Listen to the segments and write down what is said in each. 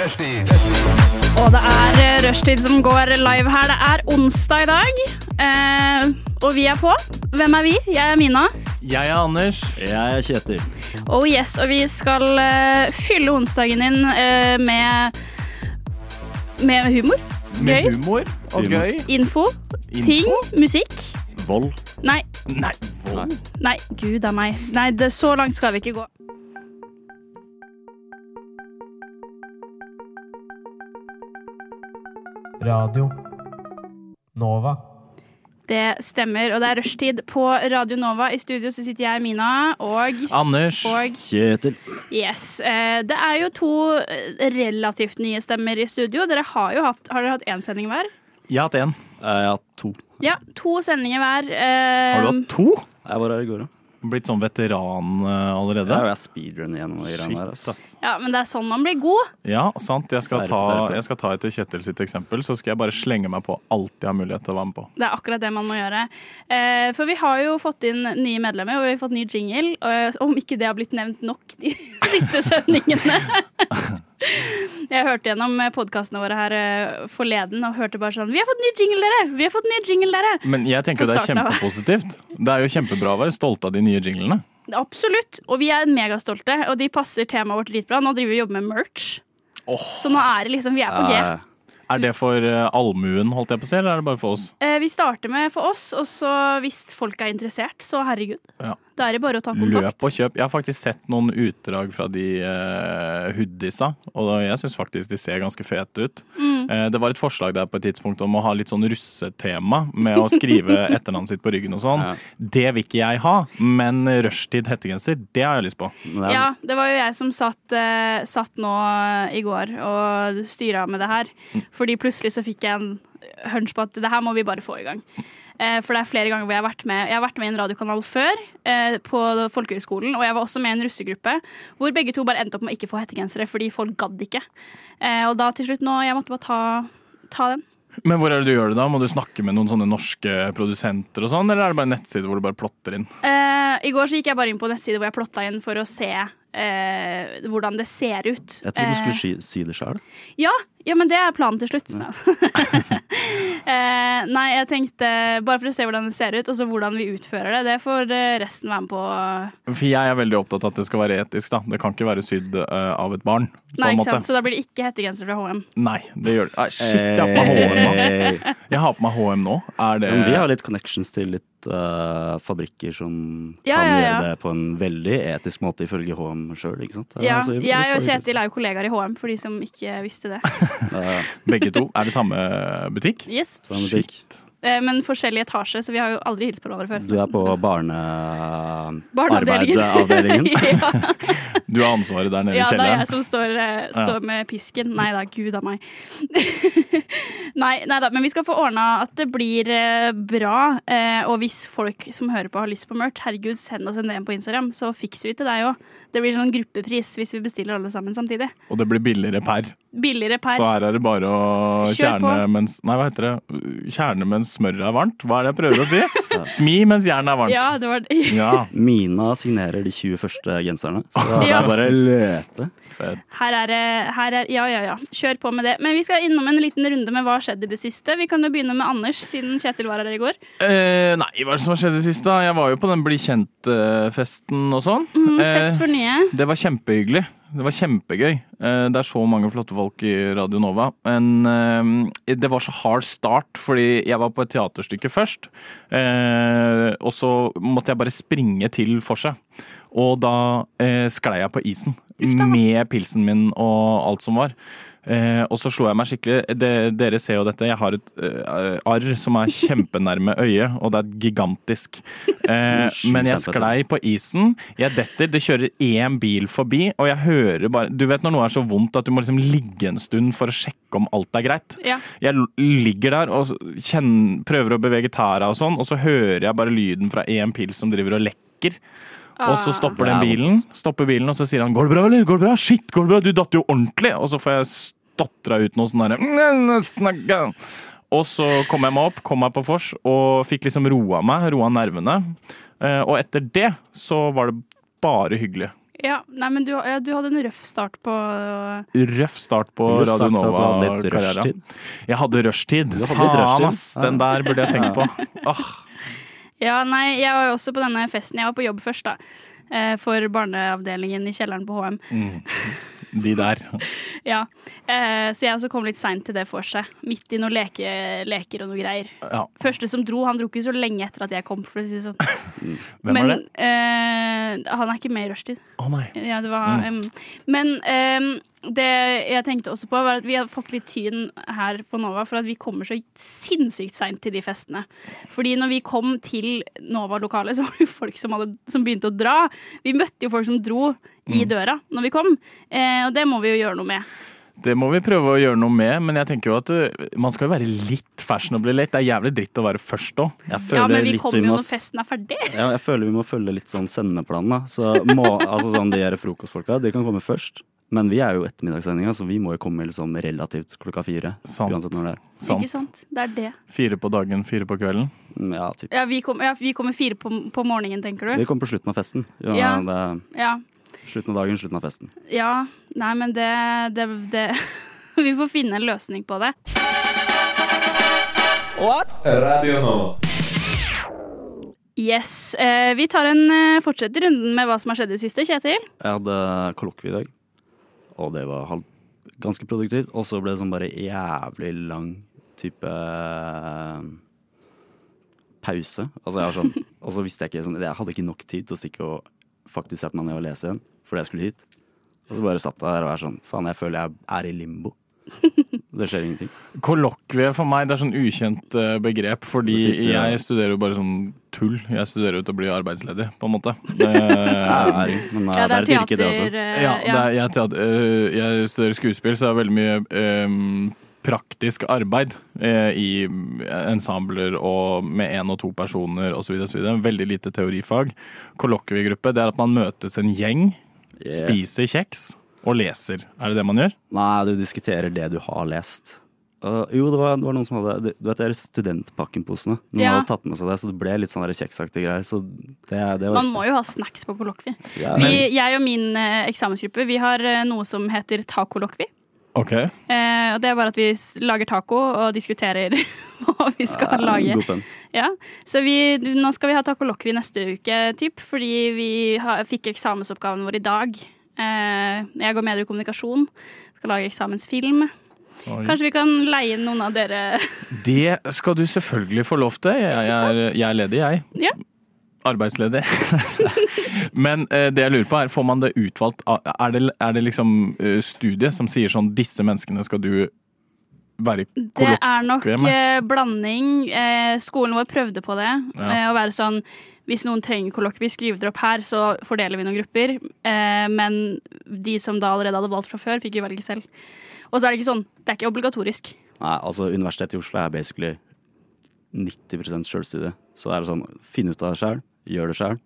Rushdie. Og det er eh, rushtid som går live her. Det er onsdag i dag, eh, og vi er på. Hvem er vi? Jeg er Mina. Jeg er Anders. Jeg er Kjetil. Oh yes, og vi skal eh, fylle onsdagen din eh, med med humor, Med gøy, humor og Humor. gøy. info, ting, musikk. Vold. Nei, Nei, vold. nei, gud a meg. Nei, det, så langt skal vi ikke gå. Radio Nova. Det stemmer, og det er rushtid på Radio Nova. I studio så sitter jeg, Mina, og, Anders. og Kjetil. Yes. eh, Det er jo to eh, relativt nye stemmer i studio. Dere har jo hatt, har dere hatt én sending hver? Jeg har hatt én. Jeg har to. Ja, to sendinger hver. Har du eh, hatt to? Jeg var her i går, ja. Blitt sånn veteran eh, Jeg allerede? er speedrunner gjennom de greiene her. Shit, ass. ass. Ja, men det er sånn man blir god. Ja, sant. Jeg skal, Skjerp ta, dere. jeg skal ta etter Kjetil sitt eksempel, så skal jeg bare slenge meg på alt jeg har mulighet til å være med på. Det er akkurat det man må gjøre. Eh, For vi har jo fått inn nye medlemmer, og vi har fått ny jingle. eh, Om ikke det har blitt nevnt nok de siste sendingene. Jeg hørte gjennom podkastene våre her eh, forleden og hørte bare sånn Vi har fått ny jingle, dere! Vi har fått ny jingle, dere! Men jeg tenker Fra det er starten av. kjempepositivt. Det er jo kjempebra å være stolt av de nye jinglene. Absolutt. Og vi er megastolte, og de passer temaet vårt dritbra. Nå driver vi og jobber med merch. Så nå er det liksom Vi er på G. Eh, Er det for eh, allmuen, holdt jeg på å si, eller er det bare for oss? Eh, Vi starter med for oss, og så hvis folk er interessert, så herregud. Ja. Da er det bare å ta kontakt. Løp og kjøp. Jeg har faktisk sett noen utdrag fra de eh, hoodiesa, og jeg syns faktisk de ser ganske fete ut. Mm. Eh, det var et forslag der på et tidspunkt om å ha litt sånn russetema med å skrive etternavnet sitt på ryggen og sånn. Ja. Det vil ikke jeg ha, men rushtid hettegenser, det har jeg lyst på. men det er- Ja, det var jo jeg som satt, eh, satt nå eh, i går og styra med det her. Mm. Fordi plutselig så fikk jeg en hunch på at det her må vi bare få i gang. Eh, For det er flere ganger hvor jeg har vært med Jeg har vært med i en radiokanal før, eh, på folkehøgskolen. Og jeg var også med i en russegruppe hvor begge to bare endte opp med å ikke få hettegensere fordi folk gadd ikke. Eh, Og da til slutt nå Jeg måtte bare ta, ta den. Men hvor er det du gjør det da? Må du snakke med noen sånne norske produsenter og sånn, eller er det bare en nettside hvor du bare plotter inn? Eh, I går så gikk jeg bare inn på nettside hvor jeg plotta inn for å se eh, hvordan det ser ut. Jeg trodde du Eh, skulle sy, sy det sjøl. Ja, ja, men det er planen til slutt. Eh, nei, jeg tenkte bare for å se hvordan det ser ut, og så hvordan vi utfører det. Det får eh, resten være med på. For jeg er veldig opptatt av at det skal være etisk, da. Det kan ikke være sydd eh, av et barn, på Nei, ikke en måte. sant? Så da blir det ikke hettegenser fra HM. Nei, det gjør det. Nei, shit, jeg Eh, har på meg håret nå. Jeg har på meg HM nå. Er det Vi har litt connections til litt eh, fabrikker som Ja, kan ja, gjøre ja. det på en veldig etisk måte, ifølge HM sjøl. ikke sant? Ja, Altså, vi- jeg og vi får- Kjetil er jo kollegaer i HM, for de som ikke visste det. Eh, begge to? Er det samme butikk? Yes. samme butikk. Eh, men forskjellig etasje, så vi har jo aldri hilst på hverandre før. Du er på Barneavdelingen. barnearbeidsavdelingen. ja. Du har ansvaret der nede i Ja, det er kjelleren. jeg som står, eh, står med pisken. Nei da, gud a meg. nei, nei da, men vi skal få ordna at det blir eh, bra. eh, Og hvis folk som hører på har lyst på merch, herregud, send oss en DM på Instagram, så fikser vi til deg òg. Det blir sånn gruppepris hvis vi bestiller alle sammen samtidig. Og det blir billigere per. Billigere Så per. her er det bare å Kjør på. kjerne mens Nei, hva heter det? Kjerne mens smøret er varmt? Hva er det jeg prøver å si? Smi mens jernet er varmt. Ja, det var det. Ja, Mina signerer de 20 første genserne, så det Ja. er bare å løpe. fett. Her er det her er, Ja, ja, ja. Kjør på med det. Men vi skal innom en liten runde med hva har skjedd i det siste. Vi kan jo begynne med Anders, siden Kjetil var her i går. Eh, nei, hva er det som har skjedd i det siste? da? Jeg var jo på den Bli kjent-festen og sånn. Mm, Eh, Fest for nye. Det var kjempehyggelig. Det var kjempegøy. Eh, Det er så mange flotte folk i Radio Nova. Men eh, det var så hard start, fordi jeg var på et teaterstykke først. eh, Og så måtte jeg bare springe til Forset. Og da eh, sklei jeg på isen med pilsen min og alt som var. Eh, og så slo jeg meg skikkelig. Det, dere ser jo dette. Jeg har et eh, arr som er kjempenærme øyet, og det er gigantisk. Eh, Sju men jeg centimeter. sklei på isen. Jeg detter, det kjører én bil forbi, og jeg hører bare Du vet når noe er så vondt at du må liksom ligge en stund for å sjekke om alt er greit? Ja. Jeg l- ligger der og kjenn- prøver å bevege tæra og sånn, og så hører jeg bare lyden fra én pils som driver og lekker. Og så stopper Det den er bilen, vondt, altså. stopper bilen, og så sier han 'går det bra, eller?' 'Går det bra? Shit, går det bra? Du datt jo ordentlig!' Og så får jeg stotra ut noe sånn derre «Snakka». Og så kom jeg meg opp, kom meg på vors, og fikk liksom roa meg, roa nervene. Eh, Og etter det så var det bare hyggelig. Ja, nei, men du, ja, du hadde en røff start på Røff start på Ville du Radio sagt at du hadde litt Nova-karriera. rushtid? Jeg hadde rushtid. Du hadde litt rushtid. Faen, ass! Den Ja. der burde jeg tenkt på. Ah, Ja, nei, jeg var jo også på denne festen. Jeg var på jobb først, da. eh, For barneavdelingen i kjelleren på HM. Mm. de der. Ja, eh, Så jeg også kom litt seint til det vorset. Midt i noen leke, leker og noe greier. Ja, Første som dro, han dro ikke så lenge etter at jeg kom. For å si det sånn. hvem men var det? eh, han er ikke med i rushtid. Å nei. Ja, det var Mm. em, Men em, det jeg tenkte også på, var at vi har fått litt tyn her på Nova for at vi kommer så sinnssykt seint til de festene. Fordi når vi kom til Nova-lokalet, så var det jo folk som, hadde, som begynte å dra. Vi møtte jo folk som dro Mm. i døra når vi kom, eh, og det må vi jo gjøre noe med. Det må vi prøve å gjøre noe med, men jeg tenker jo at uh, man skal jo være litt fashionable late. Det er jævlig dritt å være først òg. Jeg Ja, føler men vi litt kommer jo må når s- festen er ferdig. Ja, jeg føler vi må følge litt sånn sendeplanen, da. Så må, altså sånn, de her frokostfolka, de kan komme først. Men vi er jo ettermiddagssendinga, så vi må jo komme liksom relativt klokka fire. Sant. Uansett når det er. Sant. Ikke sant? Det er det. Fire på dagen, fire på kvelden. Mm, Ja, typ. Ja, vi, kom, ja, vi kommer fire på, på morgenen, tenker Vi du? kommer på slutten av festen. Ja, Ja. Det er Ja. slutten av dagen, slutten av festen. Ja, nei, men det, det, det Vi får finne en løsning på det. Radio Nova. Yes. Eh, vi tar en eh, fortsetter runden med hva som har skjedd i det siste. Kjetil? Jeg hadde kollokvie i dag, og det var halv, ganske produktivt. Og så ble det sånn bare jævlig lang type eh, pause. Altså jeg var sånn, og så visste jeg ikke sånn, Jeg hadde ikke nok tid til å stikke og faktisk sette meg ned og lese igjen, fordi jeg skulle hit. Og så bare satt jeg der og var sånn Faen, jeg føler jeg er i limbo. Det skjer ingenting. Kollokvie for meg, det er sånn ukjent eh, begrep, fordi Du sitter- jeg studerer jo bare sånn tull. Jeg studerer jo til å bli arbeidsleder, på en måte. Eh, Men eh, det er et yrke, det også. eh, ja, det ja. er, jeg, teater, øh, jeg studerer skuespill, så det er veldig mye øhm, praktisk arbeid eh, i ensembler og med én og to personer osv. Veldig lite teorifag. Kollokviegruppe, det er at man møtes en gjeng, Yeah. spiser kjeks og leser. Er det det man gjør? Nei, du diskuterer det du har lest. Øh, jo, det var, det var noen som hadde Du vet de der studentpakkenposene? Noen Ja. hadde tatt med seg det, så det ble litt sånn der kjeksaktige greier. Så det, det var Man må jo ha snacks på kollokvi. Ja, Vi, men- jeg og min eh, eksamensgruppe vi har eh, noe som heter tacolokvi. Ok. Eh, og det er bare at vi s- lager taco og diskuterer hva vi skal lage. God penn. Ja, så vi, nå skal vi ha tacolokvi neste uke, typ, fordi vi har, fikk eksamensoppgaven vår i dag. Eh, jeg går medier og kommunikasjon, skal lage eksamensfilm. Oi. Kanskje vi kan leie inn noen av dere? Det skal du selvfølgelig få lov til. Jeg, jeg, er, jeg er ledig, jeg. Ja. Arbeidsledig. Men eh, det jeg lurer på er, får man det utvalgt av- Er det, er det liksom eh, studiet som sier sånn disse menneskene skal du være i Det er nok kollokvie med? eh, blanding. Eh, skolen vår prøvde på det. Ja. Eh, å være sånn hvis noen trenger kollokvi, skriv dere opp her, så fordeler vi noen grupper. Eh, men de som da allerede hadde valgt fra før, fikk jo velge selv. Og så er det ikke sånn, det er ikke obligatorisk. Nei, altså Universitetet i Oslo er basically 90 sjølstudie. Så det er sånn finn ut av det sjøl, gjør det sjøl,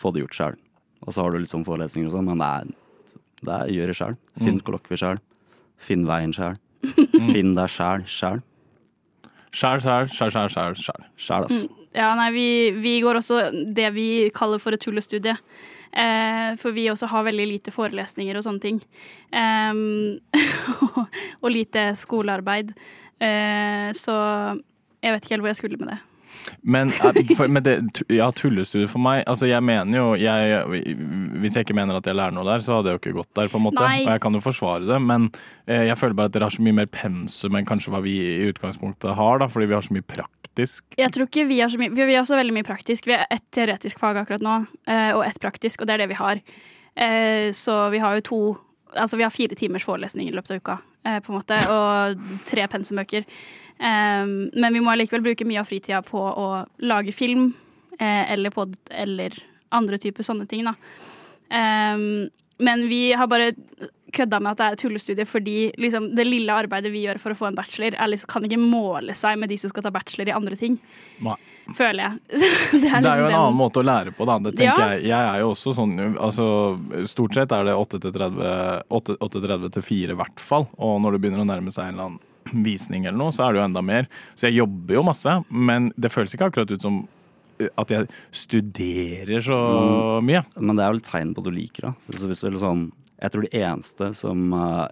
få det gjort sjøl. Og så har du litt sånn forelesninger og sånn, men det er, det er gjør det sjøl. Finn kollokvier sjøl. Finn veien sjøl. Finn deg sjæl sjæl. Skjær, skjær, skjær, skjær, skjær, skjær. Sjæl, ass. Ja, nei, vi, vi går også det vi kaller for et tullestudie. Eh, for vi også har veldig lite forelesninger og sånne ting. Em, og lite skolearbeid. Eh, så jeg vet ikke helt hvor jeg skulle med det. Men, eh, for, men det, tu- ja, tullestudie for meg Altså, jeg mener jo jeg, Hvis jeg ikke mener at jeg lærer noe der, så hadde jeg jo ikke gått der, på en måte. Nei. Og jeg kan jo forsvare det, men eh, jeg føler bare at dere har så mye mer pensum enn kanskje hva vi i utgangspunktet har, da, fordi vi har så mye praktisk. Jeg tror ikke Vi har så mye Vi vi har også veldig mye praktisk. Vi har ett teoretisk fag akkurat nå, eh, og ett praktisk, og det er det vi har. Eh, så vi har jo to Altså vi har fire timers forelesning i løpet av uka, eh, på en måte, og tre pensumbøker. Eh, men vi må allikevel bruke mye av fritida på å lage film eh, eller, pod, eller andre typer sånne ting, da. Eh, men vi har bare kødda med at det er et tullestudie fordi liksom, det lille arbeidet vi gjør for å få en bachelor, er liksom, kan ikke måle seg med de som skal ta bachelor i andre ting Nei. føler jeg. Så det, er Det er jo en liksom den- annen måte å lære på, da. Det tenker Ja. jeg. Jeg er jo også sånn altså, Stort sett er det 8 til 30 8 8.30 til 4 i hvert fall. Og når det begynner å nærme seg en eller annen visning eller noe, så er det jo enda mer. Så jeg jobber jo masse, men det føles ikke akkurat ut som eh, at jeg studerer så mye. Men det er vel et tegn på at du liker det. Så hvis du er litt sånn, jeg tror de eneste som eh,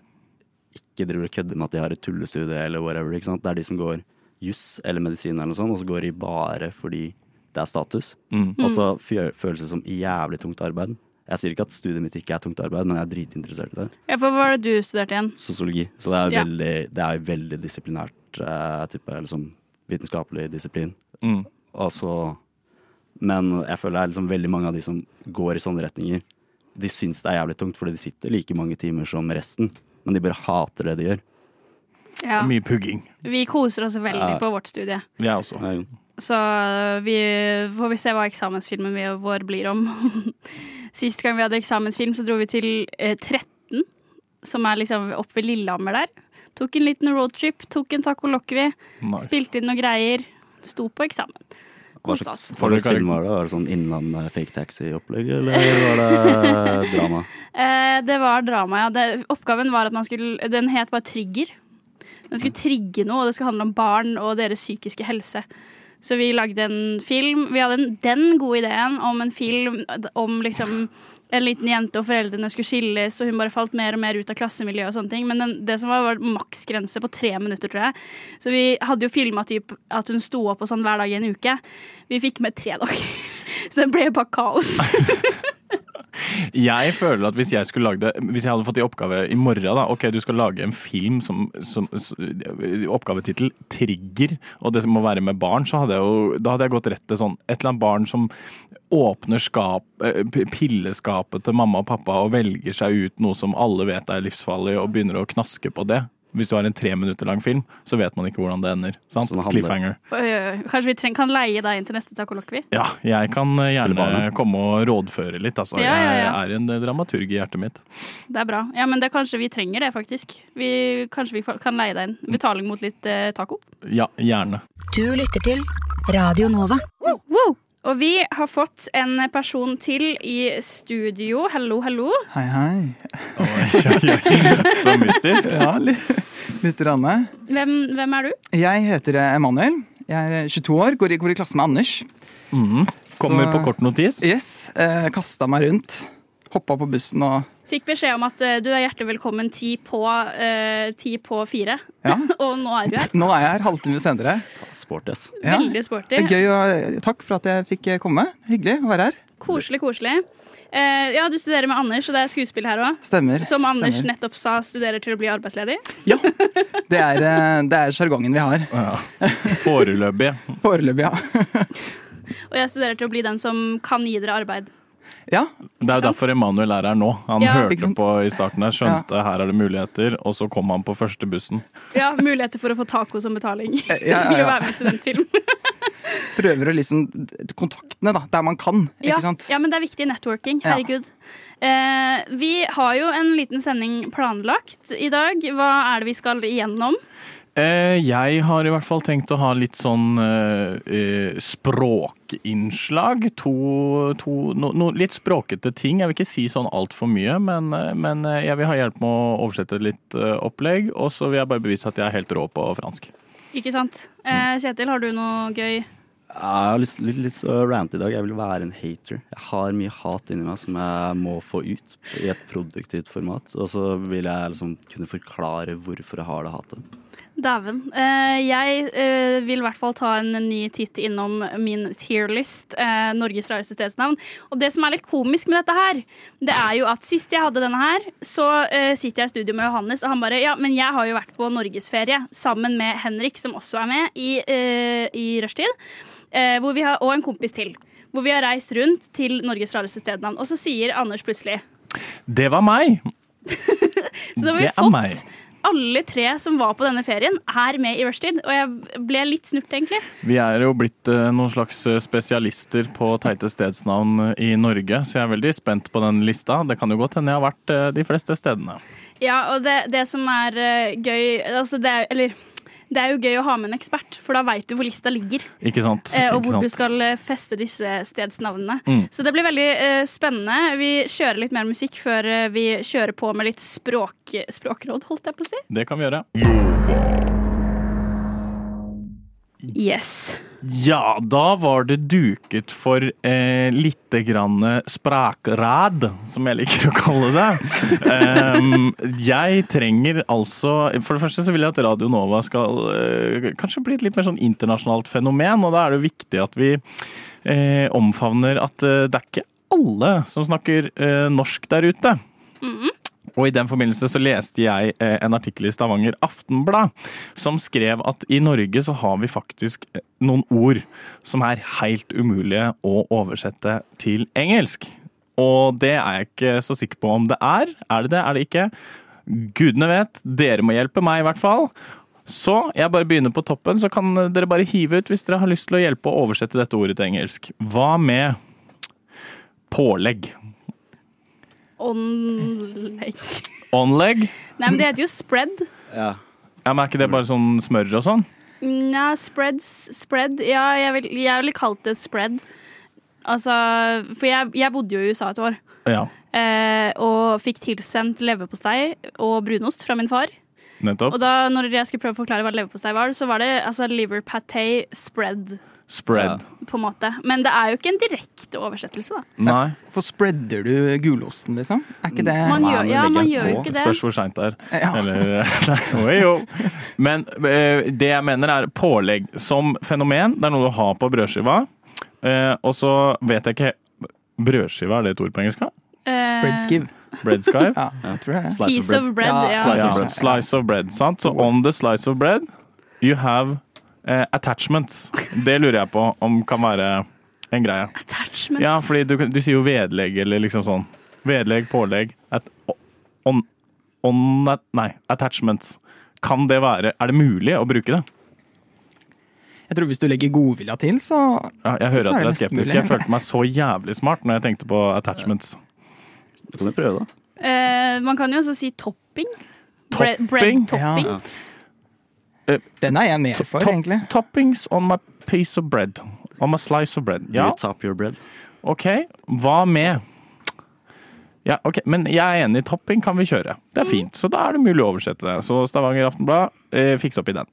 ikke driver og kødder med at de har et tullestudie eller whatever, ikke sant? det er de som går juss eller medisin eller noe sånt, og så går de bare fordi det er status. Mm. Og så fjø- føles det som jævlig tungt arbeid. Jeg sier ikke at studiet mitt ikke er tungt arbeid, men jeg er dritinteressert i det. Ja, for hva var det du studerte igjen? Sosiologi. Så det er Ja. veldig, det er veldig disiplinært eh, type liksom, vitenskapelig disiplin. Mm. Og så- Altså, men jeg føler det er liksom veldig mange av de som går i sånne retninger, de syns det er jævlig tungt fordi de sitter like mange timer som resten, men de bare hater det de gjør. Ja. Mye pugging. Vi koser oss veldig Ja. på vårt studie. Jeg også. Det er jo- Så vi får vi se hva eksamensfilmen vi- vår blir om. Sist gang vi hadde eksamensfilm, så dro vi til eh, 13, som er liksom oppe ved Lillehammer der. Tok en liten roadtrip, tok en taco lockvi, Nice. spilte inn noen greier. Sto på eksamen. Hva Kosa oss. slags, Får hva dere slags film var det? Var det sånn innland fake taxi-opplegg, eller var det drama? Eh, det var drama, ja. Det, oppgaven var at man skulle Den het bare Trigger. Den skulle trigge noe, og det skulle handle om barn og deres psykiske helse. Så vi lagde en film. Vi hadde en, den gode ideen om en film om liksom en liten jente og foreldrene skulle skilles, og hun bare falt mer og mer ut av klassemiljøet og sånne ting. Men den, det som var, var maksgrense på tre minutter, tror jeg. Så vi hadde jo filma at hun sto opp og sånn hver dag i en uke. Vi fikk med tre dager. Så det ble bare kaos. Jeg føler at hvis jeg skulle lage det Hvis jeg hadde fått i oppgave i morgen da Ok, du skal lage en film som, som, s- Oppgavetittel Trigger Og det som må være med barn Så hadde jeg jo Da hadde jeg gått rett til sånn Et eller annet barn som åpner skap, eh, p- pilleskapet til mamma og pappa Og velger seg ut noe som alle vet er livsfarlig Og begynner å knaske på det Hvis du har en tre minutter lang film Så vet man ikke hvordan det ender sant? Så det handler- Cliffhanger Oi, oi, oi. Kanskje vi treng, kan leie deg inn til neste takolokvi? Ja, jeg kan eh, Spille gjerne barnet. komme og rådføre litt altså. Ja, ja, ja. Jeg er en eh, dramaturg i hjertet mitt Det er bra. Ja, men det, kanskje vi trenger det, faktisk. Vi, kanskje vi fa- kan leie deg inn. Betaling mot litt eh, taco. Ja, gjerne Du lytter til Radio Nova. Wow! Og vi har fått en person til i studio. Hallo, hallo. Hei, hei. Så mystisk. Ja, litt, litt ranne. Hvem, hvem er du? Jeg heter eh, Emanuel. Jeg er 22 år, går i, går i klasse med Anders. Kommer Så- på kort notis. Yes, eh, Kasta meg rundt. Hoppa på bussen og Fikk beskjed om at eh, du er hjertelig velkommen ti på, eh, ti på fire. Ja. Og nå er du her. Nå er jeg her halvtime senere. Sporty, ass. Ja. Veldig Det sporty. er gøy å, Takk for at jeg fikk eh, komme. Hyggelig å være her. Koselig, koselig. Eh, ja, du studerer med Anders, og det er skuespill her òg. Stemmer. Som Anders Stemmer. nettopp sa, studerer til å bli arbeidsledig. Ja. Det er, eh, det er sjargongen vi har. Foreløpig. Foreløpig, ja. Og jeg studerer til å bli den som kan gi dere arbeid. ja. Det er jo derfor Emanuel er her nå. Han Ja. Ikke hørte sant? på i starten her, skjønte her er det muligheter, og så kom han på første bussen. Ja, muligheter for å få taco som betaling. ja, Det skulle jo ja. være med i studentfilm. Prøver å liksom Kontaktene, da. Der man kan, Ja, ikke sant. ja, men det er viktig networking. Ja. Herregud. Eh, vi har jo en liten sending planlagt i dag. Hva er det vi skal igjennom? Eh, jeg har i hvert fall tenkt å ha litt sånn eh, eh, språkinnslag. To, to no, no, Litt språkete ting. Jeg vil ikke si sånn altfor mye, men, eh, men eh, jeg vil ha hjelp med å oversette litt eh, opplegg. Og så vil jeg bare bevise at jeg er helt rå på fransk. Ikke sant? Eh, Kjetil, har du noe gøy? Jeg har lyst, litt, litt så rant i dag. Jeg vil være en hater. Jeg har mye hat inni meg som jeg må få ut i et produktivt format. Og så vil jeg liksom kunne forklare hvorfor jeg har det hatet. Dæven. Eh, jeg eh, vil i hvert fall ta en ny titt innom min tierlist, eh, Norges rareste stedsnavn. Og det som er litt komisk med dette her, det er jo at sist jeg hadde denne her, så eh, sitter jeg i studio med Johannes, og han bare Ja, men jeg har jo vært på norgesferie sammen med Henrik, som også er med, i, eh, i rushtid. Eh, hvor vi har, og en kompis til. Hvor vi har reist rundt til Norges rareste stedsnavn. Og så sier Anders plutselig Det var meg! så da har vi Det er fått meg. alle tre som var på denne ferien, er med i rushtid. Og jeg ble litt snurt, egentlig. Vi er jo blitt eh, noen slags eh, spesialister på teite stedsnavn eh, i Norge, så jeg er veldig spent på den lista. Det kan jo godt hende jeg har vært eh, de fleste stedene. Ja, og det, det som er eh, gøy altså det, er- Eller det er jo gøy å ha med en ekspert, for da veit du hvor lista ligger. Ikke sant? eh, Og Ikke hvor du sant? skal eh, feste disse stedsnavnene. Mm. Så det blir veldig eh, spennende. Vi kjører litt mer musikk før eh, vi kjører på med litt språk, språkråd, holdt jeg på å si. Det kan vi gjøre. Yes. Ja, da var det duket for eh, lite grann sprakrad, som jeg liker å kalle det. Em, jeg trenger altså For det første så vil jeg at Radio Nova skal eh, kanskje bli et litt mer sånn internasjonalt fenomen, og da er det jo viktig at vi eh, omfavner at eh, det er ikke alle som snakker eh, norsk der ute. Og i den forbindelse så leste jeg eh, en artikkel i Stavanger Aftenblad som skrev at i Norge så har vi faktisk eh, noen ord som er helt umulige å oversette til engelsk. Og det er jeg ikke så sikker på om det er. Er det det? Er det ikke? Gudene vet. Dere må hjelpe meg, i hvert fall. Så jeg bare begynner på toppen, så kan dere bare hive ut hvis dere har lyst til å hjelpe å oversette dette ordet til engelsk. Hva med pålegg? Åndlegg Onlegg? Nei, men det heter jo spread. Ja. Ja, men er ikke det bare sånn smør og sånn? Nja, spreads Spread. Ja, jeg vil- jeg ville kalt det spread. Altså For jeg, jeg bodde jo i USA et år. Ja, Eh, og fikk tilsendt leverpostei og brunost fra min far. Og nettopp. da når jeg skulle prøve å forklare hva leverpostei var, så var det altså liver paté spread. Spread. på en måte. Men det er jo ikke en direkte oversettelse, da. Nei. For spreader du gulosten, liksom? Er ikke det Man Nei, gjør, men ja, ligger man den gjør jo på? ikke det. Spørs hvor seint det er. ja. Eller Nei, oi, jo. Men eh, det jeg mener er pålegg som fenomen. Det er noe du har på brødskiva. Eh, og så vet jeg ikke Brødskive, er det et ord på engelsk? da? Eh, Breadskive? Bread skive? Ja, jeg tror det. Piece of bread, Ja, ja. slice Ja, of bread. Slice of bread, sant? Så on the slice of bread, you have eh, attachments. Det lurer jeg på om kan være en greie. Attachments. Ja, fordi du, du sier jo vedlegg eller liksom sånn. Vedlegg, pålegg at, on, on, Nei, attachments. Kan det være Er det mulig å bruke det? Jeg tror hvis du legger godvilja til, så Ja, Jeg hører Så er at det dere er nesten skeptiske. mulig. Jeg følte meg så jævlig smart når jeg tenkte på attachments. Du kan jo prøve, da. Eh, man kan jo også si topping. Bre- Topping? Bread topping. Ja. Den er jeg mer for, Topp- egentlig. Toppings on my piece of bread. On my slice of bread. Ja, You top your bread. OK. Hva med ja, ok, Men jeg er enig, topping kan vi kjøre. Det Mhm. er fint. Så da er det mulig å oversette det. Så Stavanger Aftenblad, eh, fiks opp i den.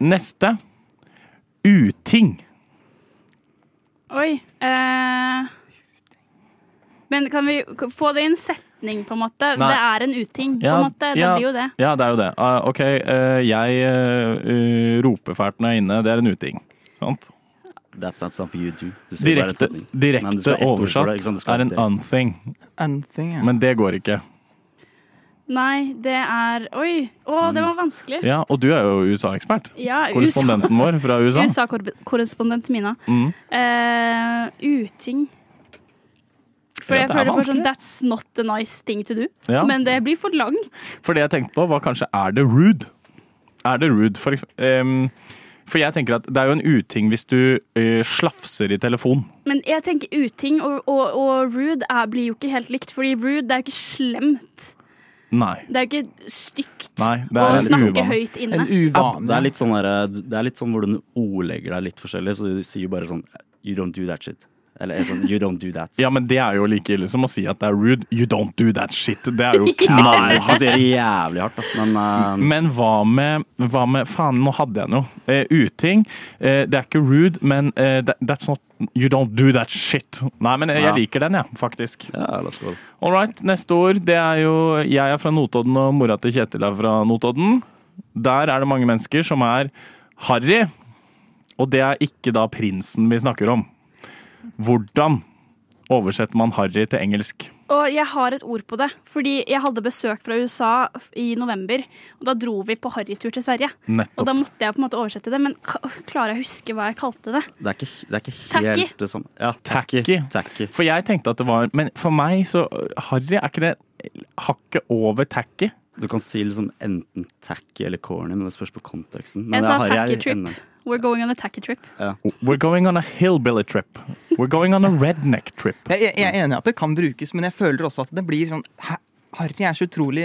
Neste. Uting. Oi. eh, men kan vi k- få det i en setning, på en måte? Nei. Det er en uting, på en måte. Det ja, blir jo det. Ja, det er jo det. Ah, OK, eh, jeg eh, roper fælt når jeg er inne. Det er en uting. Sant? That's not something you do. Du sier bare en Direkte, setning. Men du direkte skal ha ett ord for oversatt det, ikke sant? Du skal er ha en det. unthing, Anything, ja. men det går ikke. Nei, det er Oi! Å, det var vanskelig. Ja, Og du er jo USA-ekspert. Ja, USA- Korrespondenten vår fra USA. USA-korrespondent Mina. Mm. Eh, uting. For Ja, jeg det er føler bare sånn vanskelig. That's not a nice thing to do. Ja. Men det blir for langt. For det jeg tenkte på, var kanskje er det rude? Er det rude? For, ekse- ehm, for jeg tenker at det er jo en uting hvis du eh, slafser i telefon. Men jeg tenker uting og, og, og rude er, blir jo ikke helt likt. Fordi rude det er jo ikke slemt. Nei. Det er jo ikke stygt Nei, det å er en snakke uvane. høyt inne. En uvanlig Det er litt sånn, der, det er litt sånn hvordan du ordlegger deg litt forskjellig, så du sier jo bare sånn You don't do that shit. Eller sånn You don't do that. Ja, men det er jo like ille som å si at det er rude. You don't do that shit. Det er jo Nei, knall. så sier jeg jævlig hardt, da. Men eh, Men hva med, hva med Faen, nå hadde jeg noe. Eh, uting. Eh, det er ikke rude, men eh, that, that's not You don't do that shit. Nei, men jeg, Ja. jeg liker den, jeg, faktisk. eh, ja, la oss gå. All right, neste ord. Det er jo Jeg er fra Notodden, og mora til Kjetil er fra Notodden. Der er det mange mennesker som er harry, og det er ikke da prinsen vi snakker om. Hvordan oversetter man harry til engelsk? Og jeg har et ord på det. Fordi jeg hadde besøk fra USA f- i november. Og da dro vi på harrytur til Sverige. Og Nettopp. da måtte jeg på en måte oversette det. Men k- klarer jeg å huske hva jeg kalte det? Det er ikke, det er ikke Tacky. helt det samme. Ja, Tacky. tacky. For jeg tenkte at det var Men for meg så Harry, er ikke det hakket over tacky? Du kan si liksom enten tacky eller corny, men det spørs på konteksten. Men Jeg det sa har tacky jeg trip. ennå. We're going on a tacky trip. We're going on a hillbilly trip. We're going on a redneck trip. Jeg, jeg, jeg er enig i at det kan brukes, men jeg føler også at det blir sånn hæ, Harry er så utrolig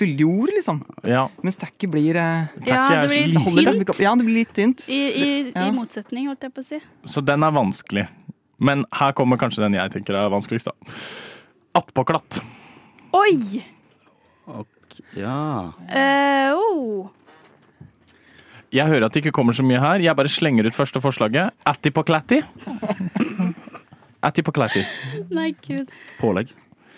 fyldig ord, liksom. Ja. Mens tacky blir eh, Tacky Ja, det er så blir lite. holder liksom tynt. ikke opp- Ja, det blir litt tynt. I, i, Ja. i motsetning, holdt jeg på å si. Så den er vanskelig. Men her kommer kanskje den jeg tenker er vanskeligst, da. Attpåklatt. Oi! Ja. Eh, oh. Jeg hører at det ikke kommer så mye her. Jeg bare slenger ut første forslaget. Attipoclatti. Attipoclatti. Nei, gud. Pålegg.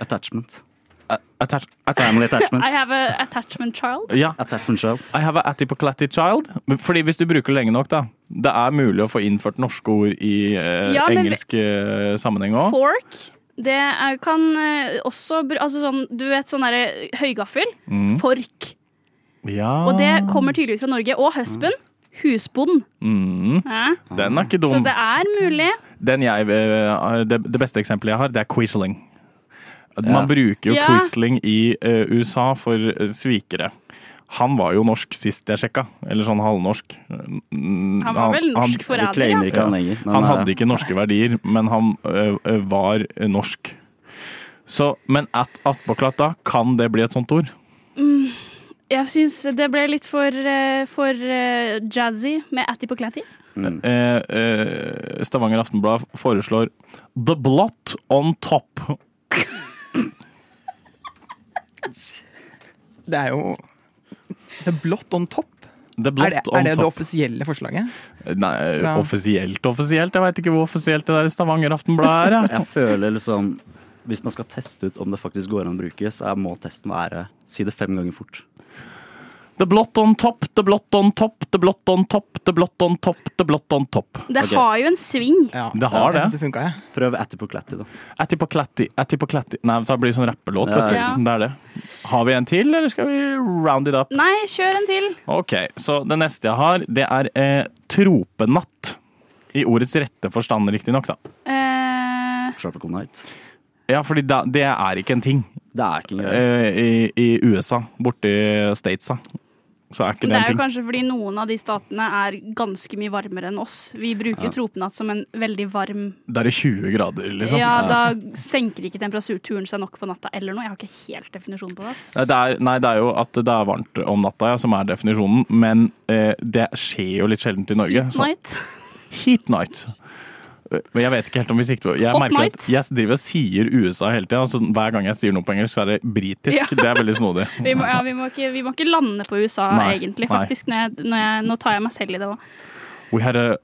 Attachment. A- Attach... atta- Family I attachment. have a attachment child. Ja, Attachment child. I have a attipoclatti child. Men Fordi hvis du bruker det lenge nok, da. Det er mulig å få innført norske ord i eh, Ja, men vi- engelsk eh, sammenheng òg. Fork. Det er, kan eh, også br- Altså sånn, du vet sånn derre høygaffel? Mm. Fork. Ja. Og det Ah. kommer tydeligvis fra Norge. Og husband. Husbond. mm. Ja. Den er ikke Så dum. det er mulig. Den jeg, eh, det, det beste eksempelet jeg har, det er quisling. Man Ja. bruker jo Ja. quisling i eh, USA for eh, svikere. Han var jo norsk sist jeg sjekka, eller sånn halvnorsk. Mm, Han var vel norsk han, forræder, ja. Claimer ikke han lenger. men, han eh, hadde ikke norske verdier, men han ø, ø, var ø, norsk. Så, men at attpåklatt da, kan det bli et sånt ord? Jeg syns det ble litt for, eh, for eh, jazzy med Atty på Clatty. mm. Eh, eh, Stavanger Aftenblad foreslår 'The blot on top'. Det er jo Det er blått on top. The blot Er det, on er det det top. offisielle forslaget? Nei, Fra- offisielt offisielt. Jeg veit ikke hvor offisielt det der Stavanger Aftenblad er. jeg. Jeg føler liksom Hvis man skal teste ut om det faktisk går an å bruke, så er- må testen være si det fem ganger fort. The blot on top, the blot on top, the blot on top, the blot on top, the blot on top. Det Ok. har jo en sving. Ja, Det har det. Jeg synes det funka, jeg. Prøv Attipoclatti, da. Attipoclatti, attipoclatti. Nei, det blir sånn rappelåt, vet du. Ja. Det er det. Har vi en til, eller skal vi round it up? Nei, kjør en til. Ok, så det neste jeg har, det er eh, tropenatt. I ordets rette forstand, riktignok, da. Eh, Tropical Night. Ja, fordi da, det er ikke en ting Det er ikke en greie. eh, i, i USA, borti statesa. Så er ikke det det, er jo en ting. kanskje fordi noen av de statene er ganske mye varmere enn oss. Vi bruker jo tropenatt som en veldig varm Det er i 20 grader, liksom. Ja, da senker ikke temperaturen seg nok på natta eller noe. Jeg har ikke helt definisjon på det. ass. Nei, Det er, nei, det er jo at det er varmt om natta, ja, som er definisjonen. Men eh, det skjer jo litt sjeldent i Norge. Heat så- night. Heat night. Eh, Men jeg vet ikke helt om vi sikter på jeg, Hot merker at night. jeg driver og sier USA hele tida. Altså, hver gang jeg sier noe på engelsk, så er det britisk. Ja. Det er veldig snodig. Vi må, ja, vi, må ikke, vi må ikke lande på USA, Nei, egentlig. nei. faktisk. Når jeg, når jeg, nå tar jeg meg selv i det òg. We had a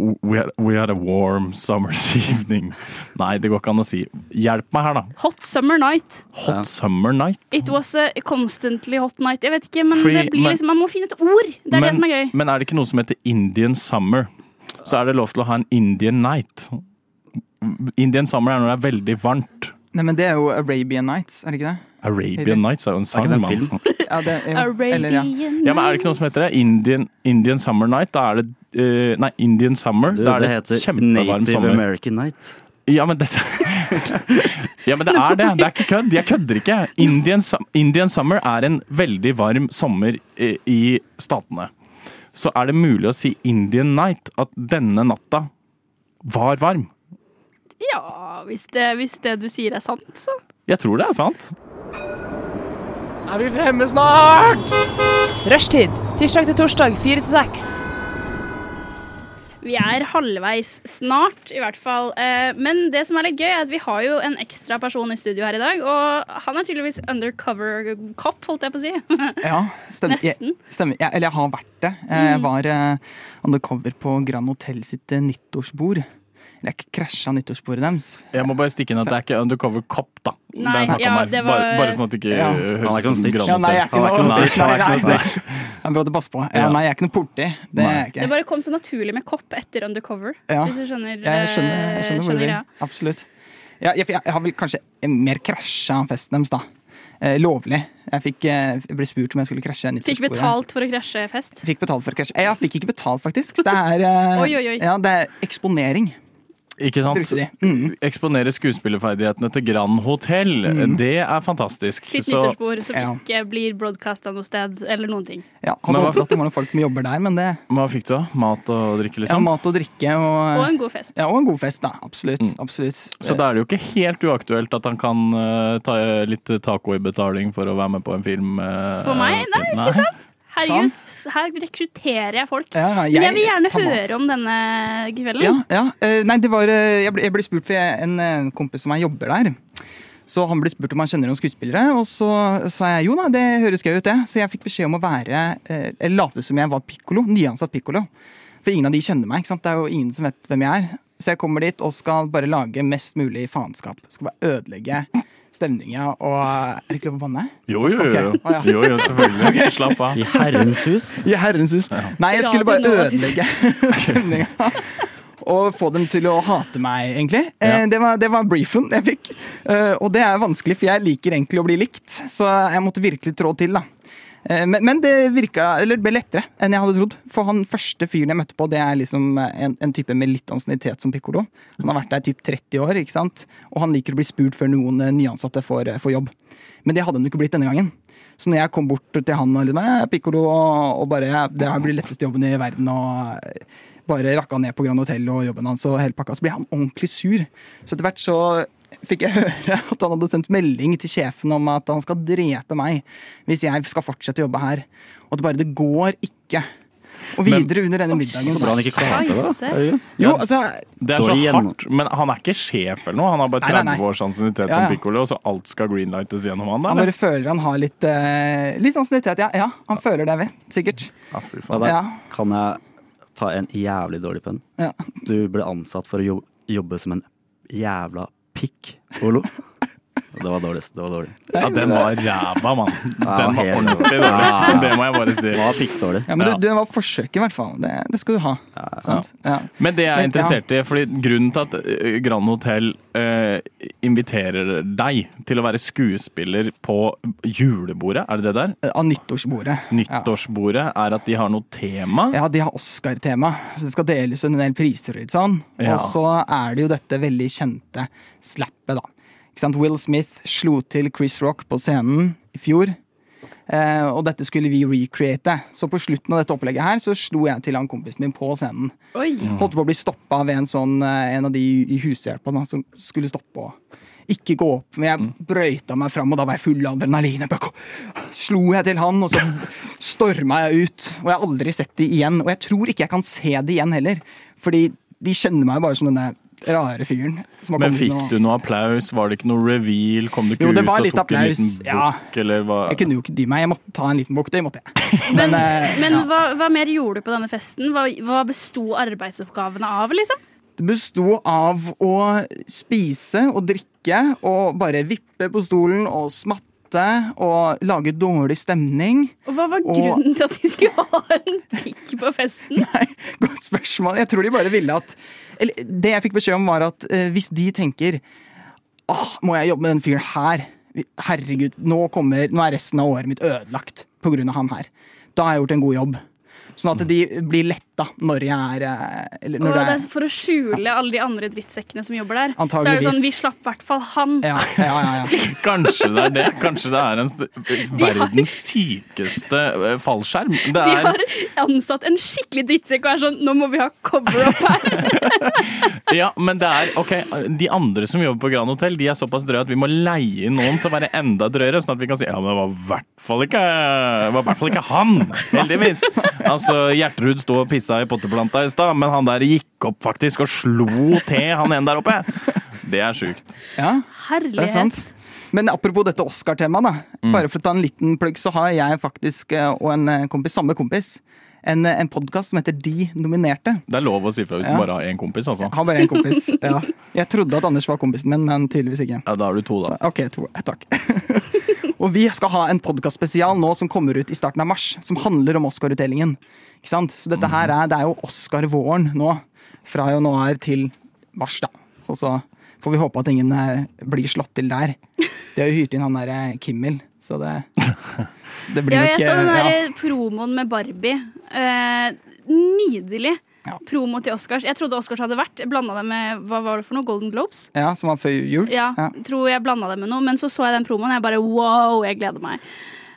We had, we had a warm summer's evening. Nei, det går ikke an å si. Hjelp meg her, da. Hot summer night. Hot Ja. summer night. It was a constantly hot night. Jeg vet ikke, men Fordi- det blir men- liksom, man må finne et ord. Det er det som er gøy. men er det ikke noe som heter Indian summer? Så er det lov til å ha en Indian night. Indian summer er når det er veldig varmt. Nei, men det er jo Arabian Nights, er det ikke det? Arabian Nights er jo en sang, det en mann. film? Ja, det er jo, eller, ja. Arabian Ja, men er det ikke noe som heter det? Indian, Indian summer night? Da er det eh, Nei, Indian summer. Du, da er det det, heter kjempevarm Native sommer. American Night. Ja, men dette Ja, men det er det. Det er ikke kødd. Jeg kødder ikke. Indian, sum- Indian summer er en veldig varm sommer i, i statene. Så er det mulig å si Indian night, at denne natta var varm. Ja, hvis det, hvis det du sier er sant, så. Jeg tror det er sant. Er vi fremme snart? Rushtid. Tirsdag til torsdag, fire til seks. Vi er halvveis snart, i hvert fall. Eh, Men det som er litt gøy, er at vi har jo en ekstra person i studio her i dag. Og han er tydeligvis undercover cop, holdt jeg på å si. ja stemmer. Nesten. Mm. Jeg, stemmer. Jeg, eller jeg har vært det. Jeg var eh, undercover på Grand Hotel sitt eh, nyttårsbord. Eller jeg krasja nyttårsbordet deres. Jeg må bare stikke inn at det er ikke undercover cop, da. Nei, det er snakk om ja, her. det var- Bare, bare sånn at det ikke Ja. eh, Han er ikke høres ut noen som snitch. Grand Ja, nei, jeg er ikke Han er noe ikke noe snitch. Nei, snitch, han er ikke noe nei, nei. Det er bra du passer på. Ja, Ja. nei, jeg er ikke noe politi. Det er jeg Det ikke. bare kom så naturlig med cop etter undercover. Ah. Ja. Hvis du skjønner, Jeg skjønner, eh, jeg skjønner hvor du vil. greia. Absolutt. Ja, jeg, jeg har vel kanskje mer krasja festen deres, da. Eh, lovlig. Jeg fikk, eh, ble spurt om jeg skulle krasje. Fikk nyttårsbordet. betalt for å krasje fest. Fikk betalt for å krasje. Eh, Jeg fikk ikke betalt, faktisk. Så Det er, eh, Oi, oi, oi. Ja, det er eksponering. Ikke sant? Brukte de. Mm. Eksponere skuespillerferdighetene til Grand Hotel. Det er fantastisk. Sitt Så- nyttårsbord som ja. ikke blir broadcasta noe sted, eller noen ting. Ja, Men hadde hva- håpet at det var noen folk som jobber der, men det Men hva fikk du, da? Mat og drikke, ja, liksom? Mat og drikke og Og en god fest. ja, og en god fest, da. Absolutt. absolutt. Så da er det jo ikke helt uaktuelt at han kan eh, ta eh, litt taco i betaling for å være med på en film. eh, For meg? Nei, ikke sant? Herregud, her rekrutterer jeg folk. Ja, Men jeg vil gjerne tar mat. høre om denne kvelden. Ja, ja. Eh, Nei, det var eh, Jeg ble, jeg ble spurt for jeg- en eh, kompis som jeg jobber der. Så han ble spurt om han kjenner noen skuespillere, og så sa jeg jo da, det høres gøy ut, det. Så jeg fikk beskjed om å være, eh, eller late som jeg var pikkolo, nyansatt pikkolo. For ingen av de kjenner meg, ikke sant? det er jo ingen som vet hvem jeg er. Så jeg kommer dit og skal bare lage mest mulig faenskap. Skal bare ødelegge stemninga og Er det ikke lov å banne? Jo, jo, jo. jo. Ok. Å, ja. jo, jo selvfølgelig. Slapp av. I Herrens hus. I herrens hus. Nei, jeg skulle bare Radio Nova sitt. ødelegge stemninga. Og få dem til å hate meg, egentlig. Eh, Ja. Det, var, det var briefen jeg fikk. Eh, og det er vanskelig, for jeg liker egentlig å bli likt. Så jeg måtte virkelig trå til, da. Eh, men, men det virka, eller det ble lettere enn jeg hadde trodd. For han første fyren jeg møtte på, det er liksom en, en type med litt ansiennitet som pikkolo. Han har vært der i typ 30 år, ikke sant? og han liker å bli spurt før noen eh, nyansatte får, får jobb. Men det hadde han jo ikke blitt denne gangen. Så når jeg kom bort til han og liksom, «Eh, pikkolo, og, og bare Det her blir den letteste jobben i verden, og bare rakka ned på Grand Hotel og jobben hans og hele pakka, så ble han ordentlig sur. Så etter hvert så fikk jeg høre at han hadde sendt melding til sjefen om at han skal drepe meg hvis jeg skal fortsette å jobbe her. Og at bare det går ikke. Og Men- videre under denne middagen Burde han ikke klarte det? Heise. da? Herregud. Jo, altså Det er så Dårlig gjennom- hardt, men han er ikke sjef eller noe. Han har bare Nei, nei, nei. 30 års ansiennitet Ja, som ja. pikkolo, så alt skal greenlightes gjennom han. da, Han eller? bare føler han har litt, eh, litt ansiennitet. Ja, ja, han føler det, vel. Sikkert. Ja, fy Ja, faen. da Ja. Kan jeg ta en jævlig dårlig pønn? Ja. Du ble ansatt for å jobbe, jobbe som en jævla pikk, Olo. Det var dårligst. Det var dårlig. Ja, den var ræva, mann. Den var helt ordentlig dårlig. dårlig. Det må jeg bare si. Det var pikkdårlig. Ja, men Ja. Du, det var forsøket, i hvert fall. Det, det skal du ha. Sant? Ja. Men det jeg Men, er interessert i, fordi grunnen til at eh, Grand Hotel eh, inviterer deg til å være skuespiller på julebordet, er det det der? Av nyttårsbordet. Nyttårsbordet er at de har noe tema. Ja, de har Oscar-tema, så det skal deles en del priser. og Litt sånn. Ja. Og så er det jo dette veldig kjente slappet, da. Ikke sant? Will Smith slo til Chris Rock på scenen i fjor. Eh, og dette skulle vi recreate. Så på slutten av dette opplegget her så slo jeg til han kompisen min på scenen. Oi. Holdt på å bli stoppa ved en sånn eh, En av de i hushjelpa da, som skulle stoppe og ikke gå opp. Men Mm. jeg brøyta meg fram, og da var jeg full av adrenalin. Jeg bare kom- Slo jeg til han, og så storma jeg ut. Og jeg har aldri sett det igjen. Og jeg tror ikke jeg kan se det igjen heller. Fordi de kjenner meg bare som denne rare fyren. Som har Men kommet inn fikk og- du noe applaus? Var det ikke noe reveal? Kom du ikke Jo, det ut var og litt tok en liten applaus. bukk, Ja. eller hva? Jeg kunne jo ikke dy meg. Jeg måtte ta en liten bukk. Det måtte jeg. Men, eh, men ja. hva, hva mer gjorde du på denne festen? Hva, hva besto arbeidsoppgavene av, liksom? Det besto av å spise og drikke og bare vippe på stolen og smatte og lage dårlig stemning. Og hva var Og- grunnen til at de skulle ha en pikk på festen? Godt spørsmål. Jeg tror de bare ville at Eller det jeg fikk beskjed om, var at eh, hvis de tenker Åh, må jeg jobbe med den fyren her? Herregud, nå, kommer, nå er resten av året mitt ødelagt pga. han her. Da har jeg gjort en god jobb. Sånn at de blir letta når jeg er eh, eller Og når Mm. det det er så for å skjule alle de andre drittsekkene som jobber der. Så er det Antageligvis. sånn, vi slapp i hvert fall han. ja, ja, ja, ja. Kanskje det er det. Kanskje det er en st- verdens sykeste eh, fallskjerm. De Det er, har ansatt en skikkelig drittsekk og er sånn Nå må vi ha cover-up her! ja, men det er, ok, De andre som jobber på Grand Hotel, de er såpass drøye at vi må leie inn noen til å være enda drøyere, sånn at vi kan si ja, men det var i hvert fall ikke, det var i hvert fall ikke han! Heldigvis. Altså, Gjertrud sto og pissa i potteplanta i stad, men han der gikk opp faktisk og slo til han ene der oppe. Det er sjukt. ja. Herlighet. Det er sant. Men apropos dette Oscar-temaet, da. Bare for å ta en liten plugg, så har jeg faktisk, eh, og en eh, kompis, samme kompis, en, eh, en podkast som heter De nominerte. Det er lov å si fra hvis Ja. du bare har én kompis, altså. Har bare én kompis. Ja. Jeg trodde at Anders var kompisen min, men tydeligvis ikke. Ja, da har du to, da. Ok, to. Eh, Takk. og vi skal ha en podkastspesial nå som kommer ut i starten av mars, som handler om Oscar-utdelingen. Ikke sant? Så dette her er, det er jo Oscar-våren nå. Fra januar til mars, da. Og så får vi håpe at ingen eh, blir slått til der. De har jo hyrt inn han derre Kimmel, så det Det blir Ja, jo jeg ikke så den der ja. promoen med Barbie. Eh, nydelig Ja. promo til Oscars. Jeg trodde Oscars hadde vært. Jeg blanda det med hva var det for noe? Golden Globes? ja, som var før jul. Ja, Ja. tror jeg blanda det med noe. Men så så jeg den promoen, og jeg bare wow, jeg gleder meg.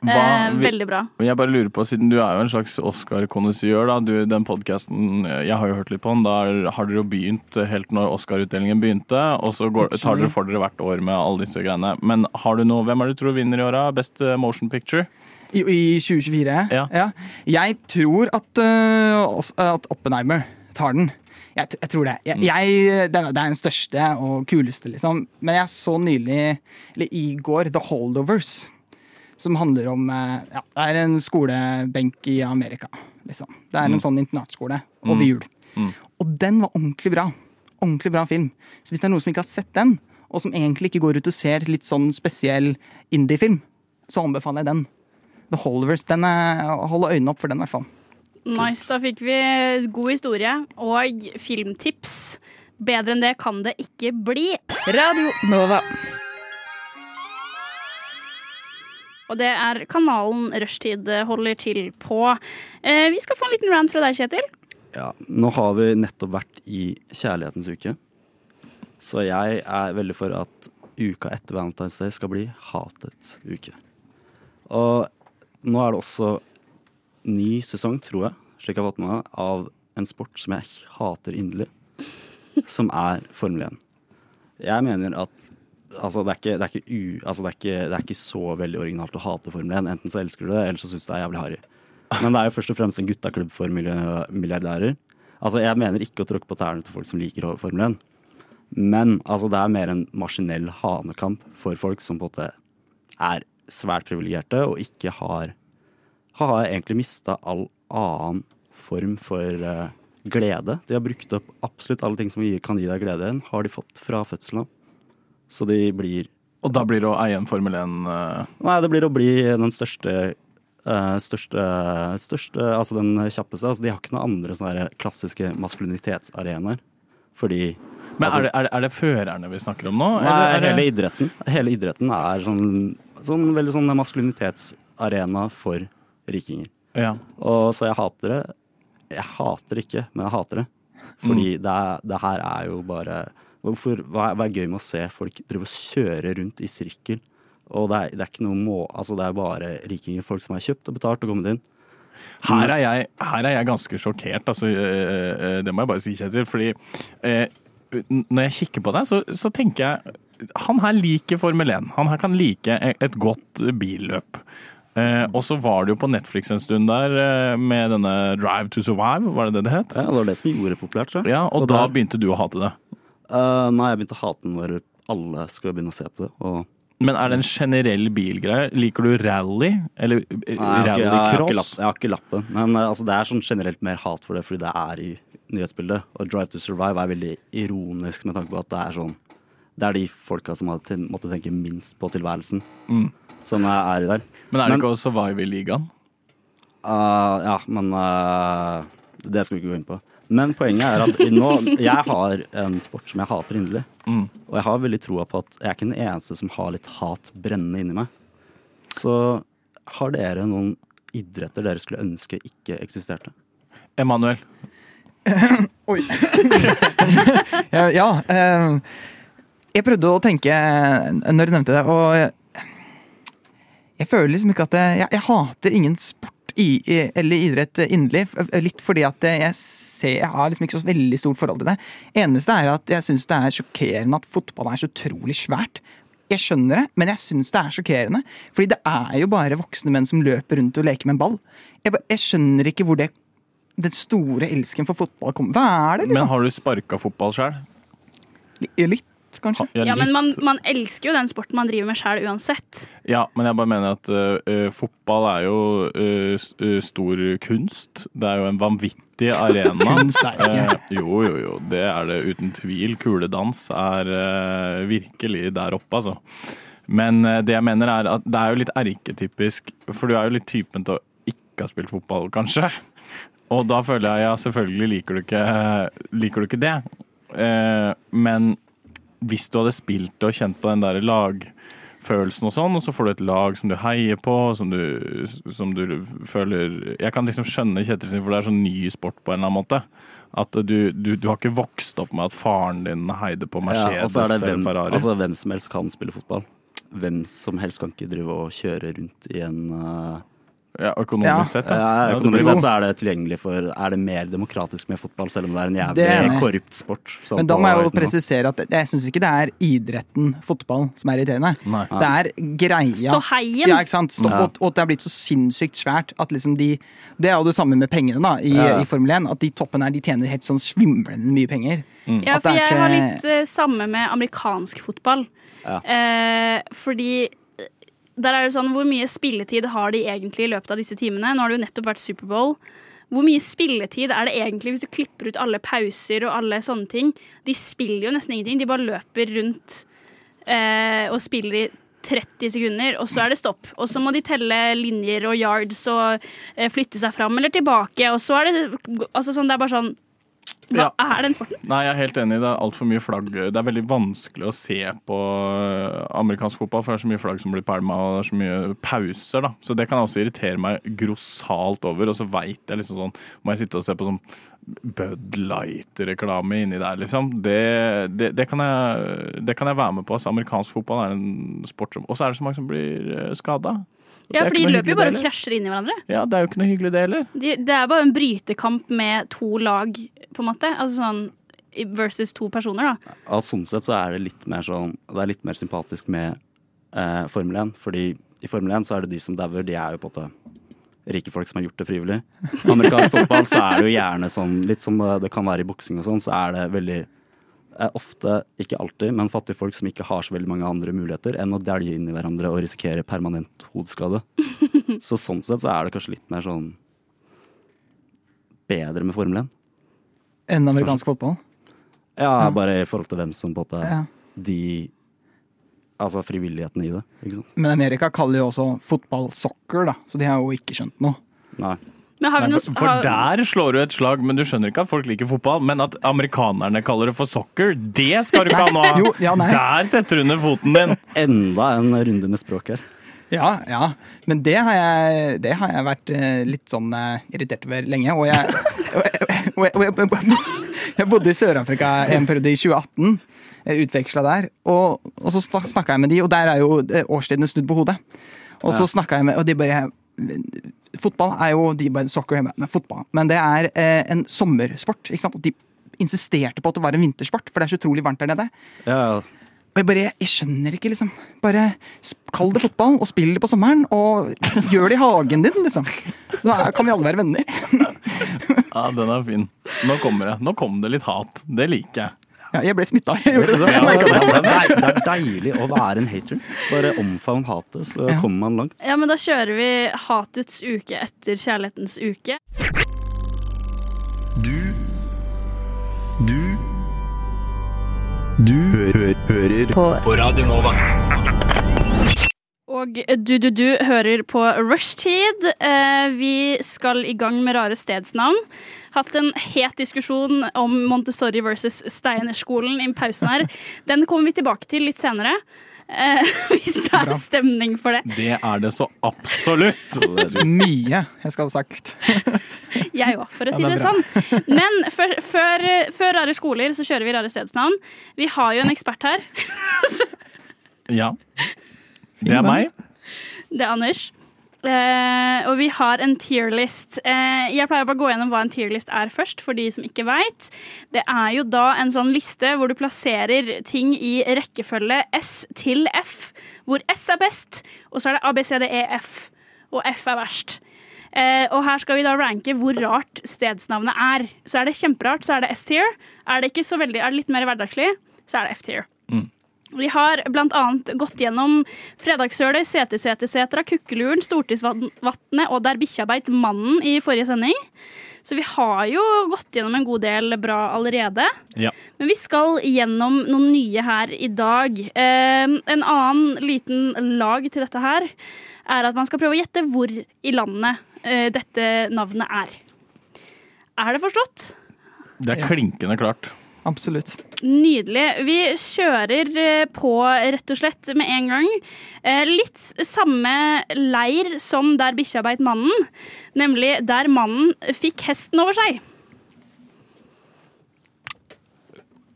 eh, Hva vi- veldig bra. Men Jeg bare lurer på, siden du er jo en slags Oscar-kondisør, da. Du, den podkasten, jeg har jo hørt litt på den, da har dere jo begynt eh, helt når Oscar-utdelingen begynte, og så går, tar dere for dere hvert år med alle disse greiene. Men har du noe, hvem er det du tror vinner i år, da? Best eh, motion picture? I, i 2024? Ja. eh, Jeg tror at, øh, også- at Oppenheimer tar den. Jeg, t- jeg tror det. Jeg, jeg, det er det er den største og kuleste, liksom. Men jeg så nylig, eller i går, The Holdovers. Som handler om eh, ja, Det er en skolebenk i Amerika, liksom. Det er en sånn internatskole over jul. Og den var ordentlig bra. Ordentlig bra film. Så hvis det er noen som ikke har sett den, og som egentlig ikke går ut og ser litt sånn spesiell indie-film, så anbefaler jeg den. The Holdovers. Den er, hold øynene opp for den, i hvert fall. Nice, da fikk vi god historie og filmtips. Bedre enn det kan det ikke bli. Radio Nova. Og det er kanalen Rushtid holder til på. Eh, vi skal få en liten rant fra deg, Kjetil. Ja, nå har vi nettopp vært i kjærlighetens uke. Så jeg er veldig for at uka etter Valentine's Day skal bli hatets uke. Og nå er det også ny sesong, tror jeg, slik jeg har fått med meg, av en sport som jeg hater inderlig, som er Formel 1. Jeg mener at altså, det, er ikke, det, er ikke u, altså, det, er ikke, det er ikke så veldig originalt å hate Formel 1. Enten så elsker du det, eller så syns du det er jævlig harry. Men det er jo først og fremst en guttaklubb for miljø- milliardærer. Altså, Jeg mener ikke å tråkke på tærne til folk som liker Formel 1, men altså, det er mer en maskinell hanekamp for folk som på en måte er svært privilegerte og ikke har Har egentlig mista all annen form for eh, glede. De har brukt opp absolutt alle ting som gir- kan gi deg glede igjen, har de fått fra fødselen av. Så de blir Og da blir det å eie en Formel 1 eh, Nei, det blir å bli den største eh, største, største Altså den kjappeste. Altså, de har ikke noen andre sånne her klassiske maskulinitetsarenaer. Fordi Men Altså- er, det, er, det, er det førerne vi snakker om nå? Nei, eller er hele det, idretten Hele idretten er sånn, sånn veldig sånn maskulinitetsarena for rikinger. ja. Og så jeg hater det. Jeg hater det ikke, men jeg hater det. Fordi Mm. det, er- det her er jo bare Hvorfor, hva, er, hva er gøy med å se folk drive og kjøre rundt i sirkel? Og det er, det er ikke noe må... Altså, det er bare rikinger, folk som er kjøpt og betalt og kommet inn. Her er, jeg, her er jeg ganske sjokkert, altså, øh, øh, det må jeg bare si, Kjetil. Fordi øh, n- når jeg kikker på deg, så, så tenker jeg Han her liker Formel 1. Han her kan like e- et godt billøp. Eh, og så var det jo på Netflix en stund der eh, med denne Drive to Survive, var det det det het? Ja, det var det som gjorde det populært, tror jeg. Ja, og, da der- begynte du å hate det. Eh, nei, jeg begynte å hate den når alle skulle begynne å se på det. Og Men er det en generell bilgreie? Liker du rally? Eller eh, Nei, jeg, har ikke, jeg, har ikke lapp, rallycross? jeg har ikke lappen, men eh, altså, det er sånn generelt mer hat for det fordi det er i nyhetsbildet. Og Drive to Survive er veldig ironisk med tanke på at det er sånn Det er de folka som har ten- måtte tenke minst på tilværelsen, som er i der. Men er Men- det ikke å survive i ligaen? Eh, ja, men eh, det skal vi ikke gå inn på. Men poenget er at nå, jeg har en sport som jeg hater inderlig. Mm. Og jeg har veldig troa på at jeg er ikke den eneste som har litt hat brennende inni meg. Så har dere noen idretter dere skulle ønske ikke eksisterte? Emanuel. Ja, ja eh, jeg prøvde å tenke når du nevnte det, og jeg, jeg føler liksom ikke at jeg, jeg, jeg hater ingen sport i, i, eller idrett inderlig. f- Litt fordi at jeg ser Jeg har liksom ikke så veldig stort forhold til det. Eneste er at jeg syns det er sjokkerende at fotball er så utrolig svært. Jeg skjønner det, men jeg syns det er sjokkerende. Fordi det er jo bare voksne menn som løper rundt og leker med en ball. Jeg, ba- jeg skjønner ikke hvor det den store elsken for fotball kommer Hva er det, Men liksom? har du sparka fotball sjøl? Litt, kanskje? Ja, men man, man elsker jo den sporten man driver med sjæl uansett. Ja, men jeg bare mener at ø, ø, fotball er jo ø, s- ø, stor kunst. Det er jo en vanvittig arena. kunst er ikke Jo, jo, jo. Det er det uten tvil. Kuledans er ø, virkelig der oppe, altså. Men ø, det jeg mener er at det er jo litt erketypisk, for du er jo litt typen til å ikke ha spilt fotball, kanskje. Og da føler jeg ja, selvfølgelig liker du ikke, liker du ikke det. Eh, men hvis du hadde spilt det og kjent på den der lagfølelsen og sånn, og så får du et lag som du heier på, som du, som du føler Jeg kan liksom skjønne Kjetil sin, for det er sånn ny sport på en eller annen måte. At du, du, du har ikke vokst opp med at faren din heide på Ja, og Mercedes så er det eller hvem, Ferrari. altså, hvem som helst kan spille fotball. Hvem som helst kan ikke drive og kjøre rundt i en eh, Ja, økonomisk Ja. sett, da. Ja, Ja, det økonomisk blir- sett så er det tilgjengelig for Er det mer demokratisk med fotball, selv om det er en Det er jeg jævlig enig i. korrupt sport? sånn Men da på må jeg jo høyt nivå. presisere at jeg syns ikke det er idretten fotball som er irriterende. Nei. Det er greia. Ståheien. Ja, ikke sant? Stopp, Ja. og, og at det er blitt så sinnssykt svært at liksom de Det er jo det samme med pengene da, i, Ja. i Formel 1. At de toppene her de tjener helt sånn svimlende mye penger. Mm. Ja, Mm. At for det er jeg til- har litt eh, samme med amerikansk fotball. Ja. Eh, fordi eh, der er det sånn, hvor mye spilletid har de egentlig i løpet av disse timene? Nå har det jo nettopp vært Superbowl. Hvor mye spilletid er det egentlig hvis du klipper ut alle pauser og alle sånne ting? De spiller jo nesten ingenting, de bare løper rundt eh, og spiller i 30 sekunder, og så er det stopp. Og så må de telle linjer og yards og eh, flytte seg fram eller tilbake, og så er det Altså sånn, det er bare sånn Hva er den sporten? Nei, jeg er helt enig. Det er altfor mye flagg. Det er veldig vanskelig å se på eh, amerikansk fotball, for det er så mye flagg som blir pælma, og det er så mye pauser, da. Så det kan jeg også irritere meg grossalt over. Og så veit jeg liksom sånn Må jeg sitte og se på sånn Bud Light-reklame inni der, liksom. Det, det, det, kan jeg, det kan jeg være med på. Altså, amerikansk fotball er en sport som Og så er det så mange som blir eh, skada. Ja, for de løper jo bare og krasjer. krasjer inn i hverandre. Ja, det er jo ikke noe hyggelig, det heller. De, det er bare en brytekamp med to lag, på en måte. Altså sånn i- versus to personer, da. Ja, sånn sett så er det litt mer sånn Det er litt mer sympatisk med eh, Formel 1. Fordi i Formel 1 så er det de som dauer, de er jo på en måte rike folk som har gjort det frivillig. I Amerikansk fotball så er det jo gjerne sånn, litt som eh, det kan være i boksing og sånn, så er det veldig eh, Ofte, ikke alltid, men fattige folk som ikke har så veldig mange andre muligheter enn å dælje inn i hverandre og risikere permanent hodeskade. Så sånn sett så er det kanskje litt mer sånn bedre med Formel 1. Enn amerikansk fotball. Ja, bare i forhold til hvem som på en måte Ja. de Altså frivilligheten i det. Ikke sant? Men Amerika kaller jo også fotball soccer, da, så de har jo ikke skjønt noe. Nei. Men har vi Nei, noen for, sp- for har, der slår du et slag, men du skjønner ikke at folk liker fotball. Men at amerikanerne kaller det for soccer, det skal du ikke ha nå! Jo, ja, nei. der setter du ned foten din! Enda en runde med språk her. Ja, ja. Men det har jeg, det har jeg vært eh, litt sånn eh, irritert over lenge. Og jeg, og jeg, og jeg, og jeg, og jeg, jeg bodde i Sør-Afrika en periode i 2018. Utveksla der. Og, og så snakka jeg med de, og der er jo eh, årstidene snudd på hodet. Og så snakka jeg med Og de bare Fotball er jo de bare soccer, jeg bare, nei, fotball. Men det er eh, en sommersport. ikke sant? Og de insisterte på at det var en vintersport, for det er så utrolig varmt der nede. Ja, Og jeg bare, jeg skjønner ikke, liksom. Bare sp- kall det fotball, og spill det på sommeren, og gjør det i hagen din, liksom. Da kan vi alle være venner. Ja, den er fin. Nå kommer det. Nå kom det litt hat. Det liker jeg. Ja, jeg ble smitta, jeg gjorde det. ja, det, er dei- det er deilig å være en hater. Bare omfavn hatet, så Ja. kommer man langt. ja, men da kjører vi Hatets uke etter Kjærlighetens uke. Og eh, du-du-du hører på Rushtid. Eh, vi skal i gang med rare stedsnavn. Hatt en het diskusjon om Montessori versus Steinerskolen i pausen her. Den kommer vi tilbake til litt senere, eh, hvis det er stemning for det. Det er det så absolutt! Så det er så- Mye jeg skal ha sagt. Jeg òg, for å si det er det sånn. Men før, før, før Rare skoler så kjører vi Rare stedsnavn. Vi har jo en ekspert her. Ja. Det er meg. Det er Anders. Eh, og vi har en tierlist. Eh, jeg pleier bare å gå gjennom hva en tierlist er først, for de som ikke veit. Det er jo da en sånn liste hvor du plasserer ting i rekkefølge S til F, hvor S er best, og så er det A, B, C, D, E, F. Og F er verst. Eh, og her skal vi da ranke hvor rart stedsnavnet er. Så er det kjemperart, så er det S-tier. Er det ikke så veldig, er det litt mer hverdagslig, så er det F-tier. Vi har blant annet gått gjennom Fredagssølet, Setesetesetra, Kukkeluren, Stortingsvatnet og Der bikkja beit mannen i forrige sending. Så vi har jo gått gjennom en god del bra allerede. Ja. Men vi skal gjennom noen nye her i dag. Eh, en annen liten lag til dette her er at man skal prøve å gjette hvor i landet eh, dette navnet er. Er det forstått? Det er klinkende klart. Absolutt. Nydelig. Vi kjører eh, på rett og slett med en gang. Eh, Litt samme leir som der bikkja beit mannen, nemlig der mannen fikk hesten over seg.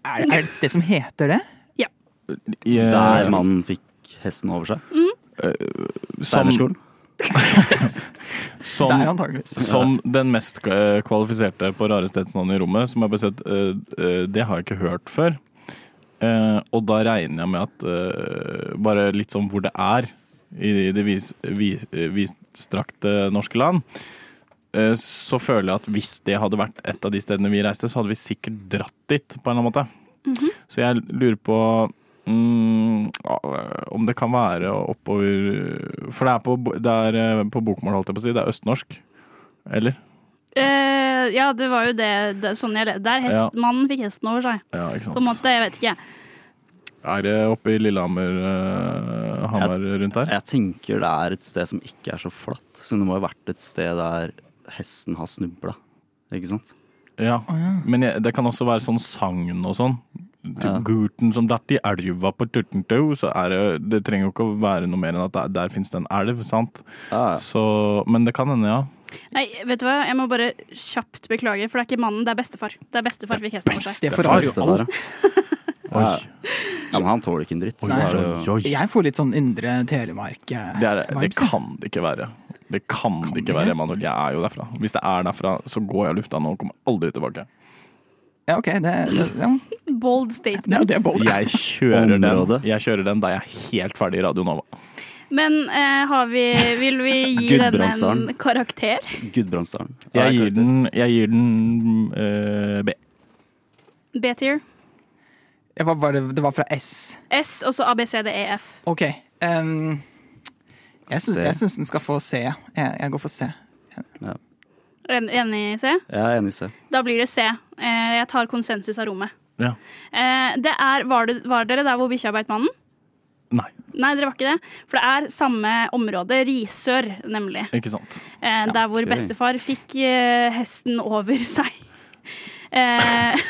Er det et sted som heter det? I, eh, Der Mm. mannen fikk hesten over seg. Eh, som- Steinerskolen. som, Der antageligvis. som den mest eh, kvalifiserte på rarestedsnavnet i rommet, som jeg bare sett eh, eh, Det har jeg ikke hørt før. Eh, og da regner jeg med at eh, Bare litt sånn hvor det er i det vis, vis, eh, vidstrakte norske land, eh, så føler jeg at hvis det hadde vært et av de stedene vi reiste, så hadde vi sikkert dratt dit på en eller annen måte. Så jeg lurer på mm, ja, om det kan være oppover For det er på, bo- det er eh, på bokmål, holdt jeg på å si. Det er østnorsk. Eller? Eh, ja, det var jo det, det sånn jeg le- Der hest, Ja. mannen fikk hesten over seg. Ja, ikke På en måte, jeg vet ikke. Er det oppe i Lillehammer, eh, Hamar rundt der? Jeg tenker det er et sted som ikke er så flatt, så det må ha vært et sted der hesten har snubla. Ikke sant? Ja. Men jeg, det kan også være sånn sagn og sånn. Til Ja. Guten som datt i elva på Turtentau, så er det Det trenger jo ikke å være noe mer enn at der, der fins det en elv, sant? Ja, Så Men det kan hende, ja. Nei, vet du hva? Jeg må bare kjapt beklage, for det er ikke mannen, det er bestefar. Det er bestefar fikk hesten over seg. Det forandrer Det jo var- alt. Oi. ja, men han tåler ikke en dritt. så Oi, det er oi, jo- oi. Jeg får litt sånn indre Telemark. eh, Det, er, det kan det ikke være. Det kan, det ikke det? være, Emanuel. Jeg er jo derfra. Hvis det er derfra, så går jeg av lufta nå og kommer aldri tilbake. Ja, ok, det, det, ja. Bold Ja, statement. det er bold. Jeg kjører den, Området. jeg kjører den da jeg er helt ferdig i Radio Nova. Men eh, har vi Vil vi gi denne en Gudbrandsdalen. karakter? Gudbrandsdalen. Ja, Jeg gir klarte det. den, jeg gir den eh, B. B-tier. Jeg var, var det, det var fra S. S, og så ABCDEF. Ok. ehm, jeg syns- C. jeg syns den skal få C. Jeg, jeg går for C. En- Enig, C? Jeg er enig i C. Da blir det C. Eh, jeg tar konsensus av rommet. Ja. Eh, det er, var, det, var dere der hvor bikkja beit mannen? Nei, Nei, dere var ikke det. For det er samme område, Risør, nemlig. ikke sant. Eh, der hvor ok. bestefar fikk eh, hesten over seg. Eh,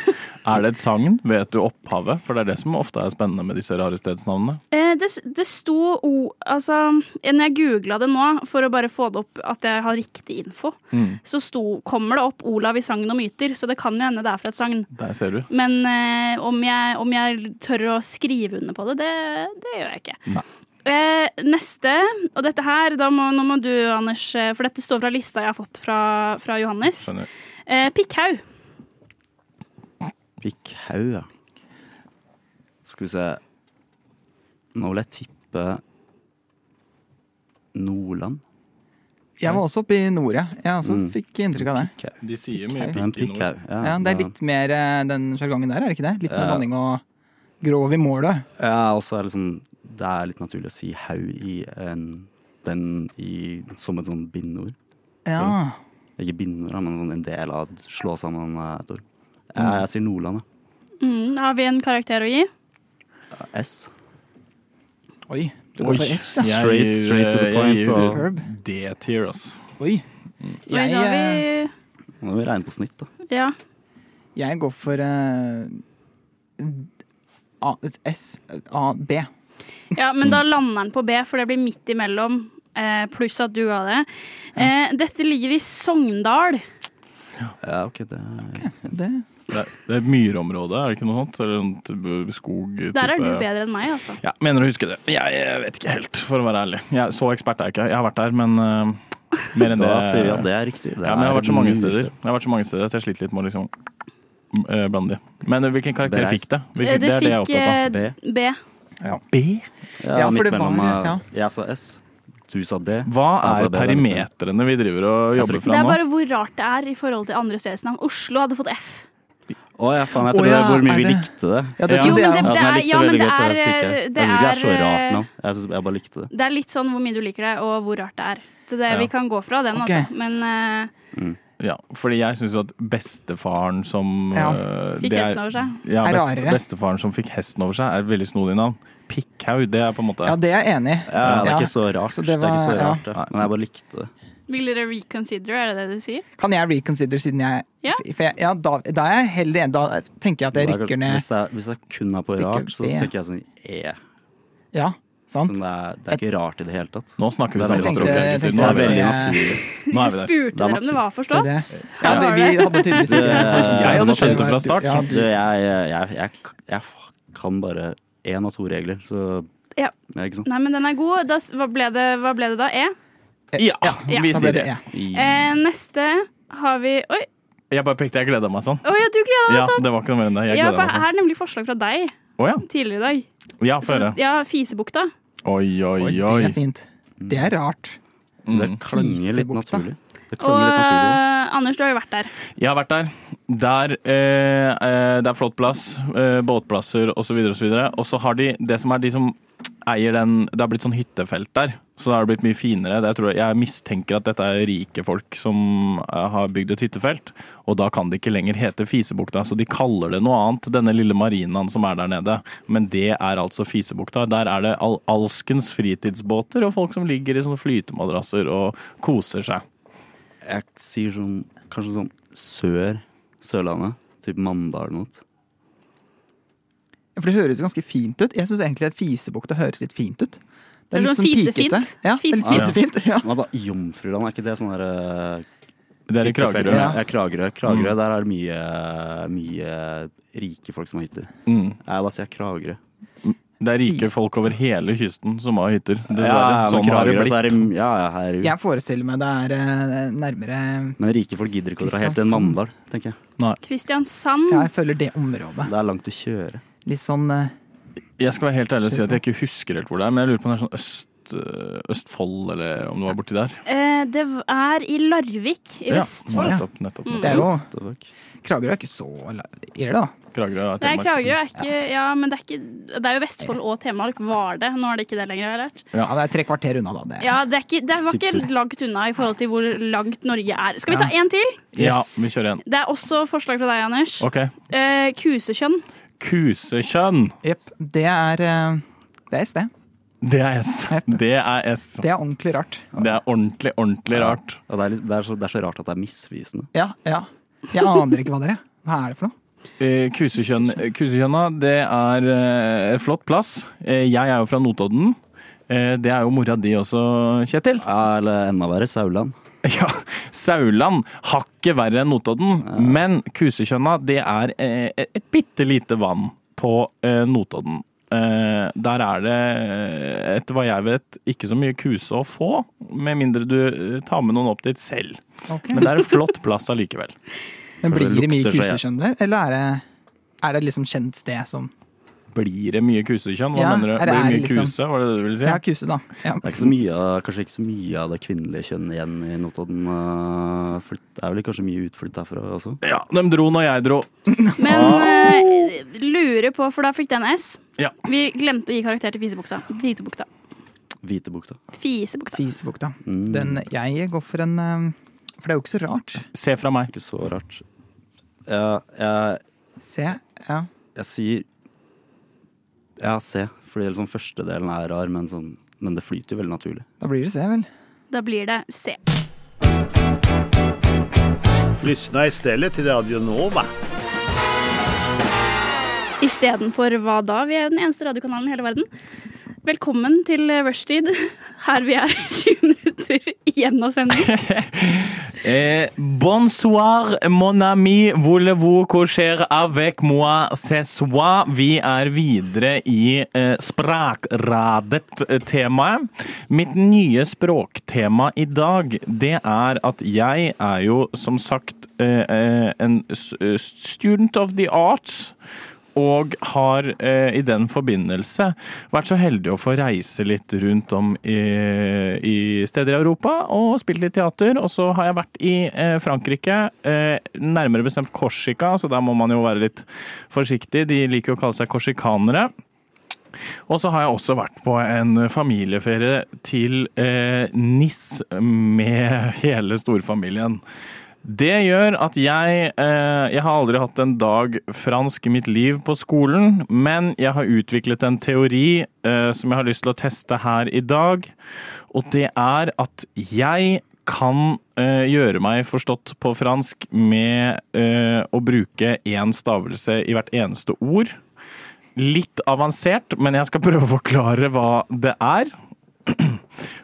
Er det et sagn? Vet du opphavet? For det er det som ofte er spennende med disse rare stedsnavnene. eh, det, det sto o... Altså, når jeg googla det nå, for å bare få det opp at jeg har riktig info, så sto, kommer det opp Olav i sagn og myter, så det kan jo hende det er fra et sagn. Der ser du. Men eh, om, jeg, om jeg tør å skrive under på det, det, det gjør jeg ikke. Nei. Eh, neste, og dette her, da må, nå må du, Anders, eh, for dette står fra lista jeg har fått fra, fra Johannes. Skjønner. Eh, Pikkhaug. Pikkhaug, ja. Skal vi se Nå vil jeg tippe Nordland. Jeg var også oppe i nord, ja. Jeg også Mm. fikk inntrykk av det. Pikkhaug. De sier mye Men pikk i nord. pikkhaug. Ja, Ja, det er litt mer eh, den sjargongen der, er det ikke det? Litt mer Ja. blanding og grov i målet. Ja, og så er det liksom Det er litt naturlig å si haug i en den i, som et sånn bindeord. Ja. Ikke bindeord, men sånn en del av slå sammen eh, et ord. Ja, jeg sier Nordland, ja. Mm, har vi en karakter å gi? S. Oi. Du går for S, ja. Jeg Straight- gir, straight to the eh, point, Jeg og- gir D-tier, ass. Oi. Oi, Jeg, da har eh, vi, Nå må vi regne på snitt, da. ja. jeg går for eh, A, S, A, B. ja, men da lander den på B, for det blir midt imellom. Eh, pluss at du ga det. Eh, dette ligger i Sogndal. Ja, OK, det er Det. Det er, det er et myrområde, er det ikke noe sånt? Eller en type skog? Type. Der er du bedre enn meg, altså. Ja, mener å huske det. Jeg, jeg vet ikke helt, for å være ærlig. Jeg, så ekspert er jeg ikke. Jeg har vært der, men eh, mer enn Da det sier vi at det er riktig. Det Ja, men jeg har er vært så mange mye steder sted. Jeg har vært så mange steder at jeg sliter litt med å liksom eh, blande de. Men eh, hvilken karakter Bereist. fikk det? Hvilken, Eh, det det er det jeg er fikk opptatt av. eh, B. Ja, Ja, for midt det var- mellom, eh, ja. Jeg sa S, du sa D. Hva er Altså, det er det. perimetrene vi driver og Jeg tror jobber ikke- Det fra er nå? bare hvor rart det er i forhold til andre stedsnavn. Oslo hadde fått F. Å ja, faen, jeg tror Å det ja, er hvor mye er vi det- likte det. Ja, det Ja. tror Jo, men jeg det- også. Ja, altså, er- ja, men jeg likte det veldig det godt, det er, spikket. eh, det Jeg synes ikke det er så er, eh, rart navn. Jeg, synes, jeg bare likte det. Det er litt sånn hvor mye du liker det, og hvor rart det er. Så det, Ja. vi kan gå fra den, Ok. altså. Men eh, Ja, fordi jeg syns jo at bestefaren som Ja. eh, fikk det er- hesten over seg. Ja, Er best, rarere. bestefaren som fikk hesten over seg, er et veldig snodig navn. Pikkhaug, det er på en måte Ja, det er jeg enig i. Ja, det er Ja. ikke så rart. Så det, det er ikke var- så ja. rart, det. Men jeg bare likte det. Vil dere reconsider, er det det du sier? Kan jeg reconsider siden jeg Ja. for jeg, ja da, da er jeg heller enig. Da tenker jeg at jeg Det er rykker klart, ned Hvis jeg, hvis jeg kun er på Rykker rart, så B. tenker jeg sånn E. Ja, Sånn, sant? det, er, det er ikke rart i det hele tatt. Nå snakker vi Det er samme veldig- språk, Jeg eh, gutter. tenkte- Nå er jeg vi tenkte- der. naturlig. Nå er vi Spurte der. Det er dere om det var Så forstått? det, ja, Her det, var vi det. hadde tydeligvis Det- ikke helt forstått. Jeg hadde skjønt det fra Du- ja, Du, du- jeg, jeg, jeg, jeg kan bare én av to regler, så Ja. Ikke sant? Nei, men den er god. Da, s- hva, ble det, hva ble det da? E? Ja, Ja. vi Da ble sier det det. E. Eh, neste har vi Oi, Jeg bare pekte, jeg gleda meg sånn. Å ja, du gleder deg Ja, sånn! det var ikke noe mer enn det. Jeg Ja, gleda for meg jeg sånn. har nemlig forslag fra deg Å ja. tidligere i dag. Ja, få høre. Som- Sånn, Ja, Fisebukta. Oi, oi, Oi, Det oi. Mm. er fint. Det er rart. Det klinger litt Fisebukta. naturlig. Det Og klinger litt naturlig. eh, Anders, du har jo vært der. Jeg har vært der. Der, eh, eh, det er flott plass, eh, båtplasser osv. Og, så videre. og så har de det som er de som eier den Det har blitt sånn hyttefelt der, så det har blitt mye finere. Det jeg, tror, jeg mistenker at dette er rike folk som eh, har bygd et hyttefelt, og da kan det ikke lenger hete Fisebukta, så de kaller det noe annet, denne lille marinaen som er der nede. Men det er altså Fisebukta. Der er det al alskens fritidsbåter og folk som ligger i sånne flytemadrasser og koser seg. Jeg sier sånn kanskje sånn sør Sørlandet. Typ Mandal eller noe. For det høres jo ganske fint ut. Jeg syns egentlig at fisebukta høres litt fint ut. Det er litt sånn pikete. fisefint. Ja, det er litt fisefint. Ja. Men da, Jomfruland, er ikke det sånn der eh, Det er i hyttefelt? Kragerø. Mm. Ja, Ja. ja, Kragerø. Kragerø, Der er det mye, mye rike folk som har hytter. Mm. Nei, da sier jeg Kragerø. Det er rike Fis- folk over hele kysten som har hytter. Dessverre. Ja, men sånn har det Kragerø, så er blitt. det ja, ja, her er det jo. Jeg forestiller meg det er eh, nærmere Men rike folk gidder ikke å dra helt til Kristiansand. Mandal, tenker jeg. Kristiansand. Ja, jeg føler det området. Det er langt å kjøre. Litt sånn eh, Jeg skal være helt ærlig og si at jeg ikke husker helt hvor det er, men jeg lurer på om det er sånn øst, øh, Østfold, eller om det var borti der. Eh, det er i Larvik i Ja, Vestfold. Nettopp, nettopp. Mm. Det er jo What the fuck? Kragerø er ikke så la- Er det da? Kragerø er Det er Telemark. Kragerø, er ikke, ja, men det er, ikke, det er jo Vestfold og Telemark var det. Nå er det ikke det lenger, har jeg lært. Ja, det er tre kvarter unna, da. Det. Ja, det, er ikke, det var Tipper. ikke langt unna i forhold til hvor langt Norge er. Skal vi ta Ja. en til? Ja, Yes. vi kjører igjen. Det er også forslag fra deg, Anders. Ok. Eh, kusekjønn. Kusekjønn. Jepp. Det er eh, Det er et sted. Det er S. Jepp. Det er S. Det er ordentlig rart. Det er ordentlig, ordentlig rart. Ja, det, er litt, det, er så, det er så rart at det er misvisende. Ja, ja. Jeg aner ikke hva det er. Hva er det for noe? Eh, Kusekjønn, Kusekjønna, det er eh, en flott plass. Eh, Jeg er jo fra Notodden. Eh, Det er jo mora di også, Kjetil. Ja, eller enda verre, Sauland. Ja, Sauland hakket verre enn Notodden, men Kusekjønna det er eh, et bitte lite vann på eh, Notodden. Eh, der er det, eh, etter hva jeg vet, ikke så mye kuse å få, med mindre du eh, tar med noen opp dit selv. Men det er en flott plass allikevel. Men Kanskje det blir det mye lukter seg- kusekjønn der, eller er det, er det liksom kjent sted som Blir det mye kusekjønn? Hva Ja, mener du? er Blir det- det er mye det liksom- kuse, var det det du ville si? Ja, kuse, da. Ja. Det er ikke så mye, av- kanskje ikke så mye av det kvinnelige kjønnet igjen i Notodden. eh, for Det er vel kanskje mye utflytt derfra også? Ja, de dro når jeg dro. Men eh, lurer på, for da fikk den S. Ah. Ja. Vi glemte å gi karakter til fisebuksa. Fisebukta. Hvitebukta. Fisebukta. Fisebukta. Mm. Den jeg går for en eh, For det er jo ikke så rart. Se fra meg. Ikke så rart. Ja, jeg, Se. Ja. jeg sier Ja, se. Fordi liksom første delen er rar, men, sånn, men det flyter jo veldig naturlig. Da blir det se, vel. Da blir det C. Lyssna istället till Radio Nova. Istedenfor hva da? Vi er jo den eneste radiokanalen i hele verden. Velkommen til rushtid, her vi er 20 minutter igjen av sending. Eh, bonsoir, mon ami, voulez-vous coucher avec moi ce soir? Vi er videre i eh, sprakradet-temaet. Mitt nye språktema i dag, det er at jeg er jo som sagt eh, eh, en s- eh, student of the arts. Og har eh, i den forbindelse vært så heldig å få reise litt rundt om i, i steder i Europa og spilt litt teater. Og så har jeg vært i eh, Frankrike, eh, nærmere bestemt Korsika, så der må man jo være litt forsiktig. De liker jo å kalle seg korsikanere. Og så har jeg også vært på en familieferie til eh, Nis med hele storfamilien. Det gjør at jeg eh, Jeg har aldri hatt en dag fransk i mitt liv på skolen, men jeg har utviklet en teori eh, som jeg har lyst til å teste her i dag. Og det er at jeg kan eh, gjøre meg forstått på fransk med eh, å bruke én stavelse i hvert eneste ord. Litt avansert, men jeg skal prøve å forklare hva det er.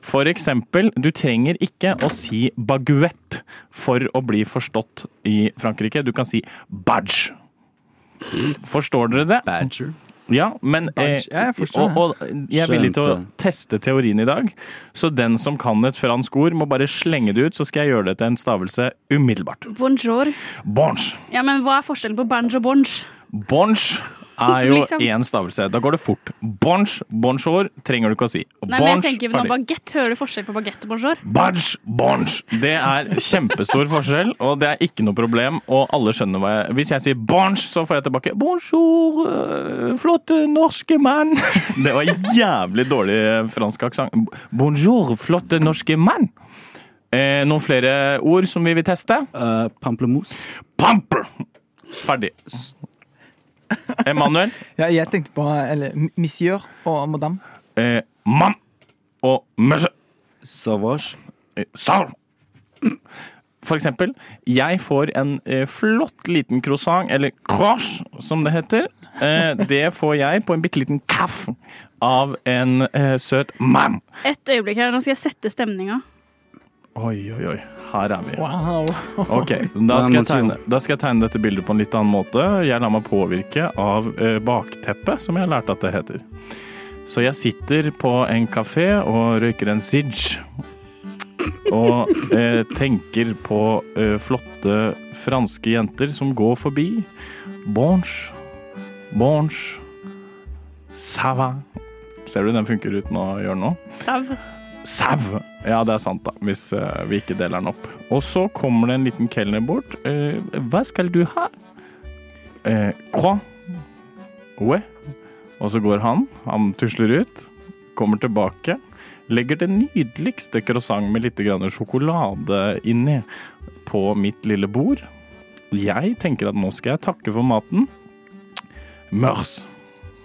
For eksempel, du trenger ikke å si baguette for å bli forstått i Frankrike. Du kan si badge. Forstår dere det? Badger. Ja, men eh, Badge, ja, jeg forstår og, og jeg er villig til å Skjønte. teste teorien i dag. Så den som kan et fransk ord, må bare slenge det ut, så skal jeg gjøre det til en stavelse umiddelbart. Bonjour. Bonge. Ja, men hva er forskjellen på banj og bonj? Bonge er jo Liksom. én stavelse. Da går det fort. Bonge, bonjour trenger du ikke å si. Nei, men jeg Bonge, tenker nå, Baguette, hører du forskjell på baguette og bonjour? Bonge, bonge. Det er kjempestor forskjell, og det er ikke noe problem. Og alle skjønner hva jeg Hvis jeg sier bonge, så får jeg tilbake bonjour, øh, flotte norske mann. Det var jævlig dårlig øh, fransk aksent. Bonjour, flotte norske mann. Eh, noen flere ord som vi vil teste? Eh, pamplemousse. Pamper! Ferdig. Emanuel? Ja, jeg tenkte på eller, monsieur og madame. Eh, mam og møsse. Savage. Sau! For eksempel, jeg får en eh, flott liten croissant, eller croche, som det heter. Eh, det får jeg på en bitte liten kaff av en eh, søt mann. Et øyeblikk her, nå skal jeg sette stemninga. Oi, oi, oi. Her er vi. Ok, da skal, jeg tegne, da skal jeg tegne dette bildet på en litt annen måte. Jeg lar meg påvirke av eh, bakteppet, som jeg har lært at det heter. Så jeg sitter på en kafé og røyker en sidge. Og eh, tenker på eh, flotte franske jenter som går forbi. Bonge, bonge, ça va. Ser du den funker uten å gjøre noe? Sau. Sau! Ja, det er sant, da, hvis eh, vi ikke deler den opp. Og så kommer det en liten kelner bort. Eh, hva skal du ha? Eh, Quoi? Ouais. Og så går han. Han tusler ut. Kommer tilbake. Legger den nydeligste croissant med litt grann sjokolade inni på mitt lille bord. Jeg tenker at nå skal jeg takke for maten. Mørs.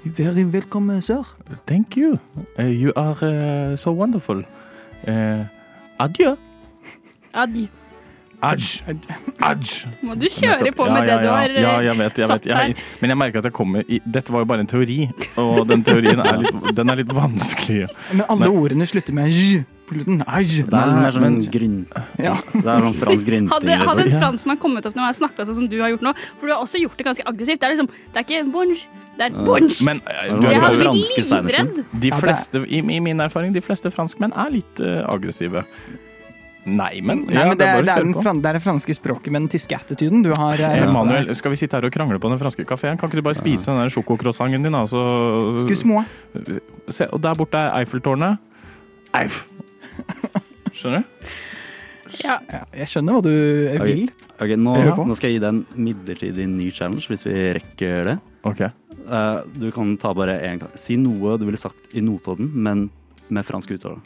Very welcome, sir. Thank you. Eh, you are eh, so wonderful. Eh, adjø. Adj. Adj. Adj. Må du kjøre Nettopp. på med ja, det du ja, har eh, ja, ja, jeg vet, jeg satt vet. Jeg, men jeg merker at jeg kommer i Dette var jo bare en teori, og den teorien er litt, den er litt vanskelig. Men alle ordene slutter med j på slutten. Aj. Det er litt mer sånn men- gryn... Ja. Det er sånn fransk grynting. Hadde, hadde liksom. en franskmann kommet opp når jeg snakka sånn som du har gjort nå, for du har også gjort det ganske aggressivt. Det er liksom, det er ikke bonj, det er bonj. Men eh, Men du, det Jeg er hadde er- franske blitt senest, men- livredd. de Ja, det er- fleste, i, I min erfaring, de fleste franskmenn er litt eh, aggressive. Nei, men, Nei, ja, men det, er, det, bare å er kjøre den, på. fran- det er det franske språket med den tyske attituden du har. eh, Emanuel, skal vi sitte her og krangle på den franske kafeen? Kan ikke du bare spise den der sjokokrosangen din, da? så- Excuse moi. Se, og der borte er Eiffeltårnet. Eif. Skjønner du? Ja. Ja, jeg skjønner hva du eh, Ok. vil. Ok, nå, Hør på. nå skal jeg gi deg en midlertidig ny challenge, hvis vi rekker det. Ok. Eh, du kan ta bare én gang. Si noe du ville sagt i Notodden, men med fransk uttale.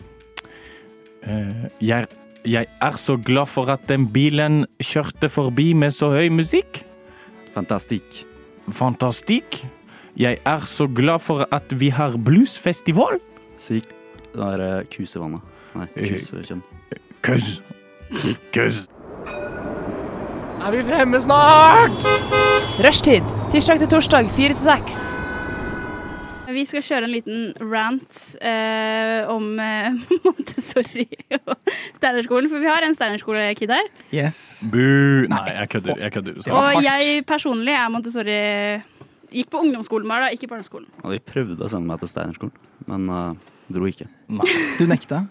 Eh, jeg, jeg er så glad for at den bilen kjørte forbi med så høy musikk. Fantastisk. Fantastisk. Jeg er så glad for at vi har bluesfestival. Si det derre kusevannet. Nei, kusekjønn. Køss. Køss. Er vi fremme snart? Rushtid. Tirsdag til torsdag, fire til seks. Vi skal kjøre en liten rant eh, om eh, Montessori og Steinerskolen, for vi har en Steinerskole-kid her. Yes. Bu. Nei, jeg kødder. Jeg kødder. Så. Og jeg personlig er Montessori Gikk på ungdomsskolen bare, da, ikke barneskolen. Ja, de prøvde å sende meg til Steinerskolen, men eh, dro ikke. Du nekta.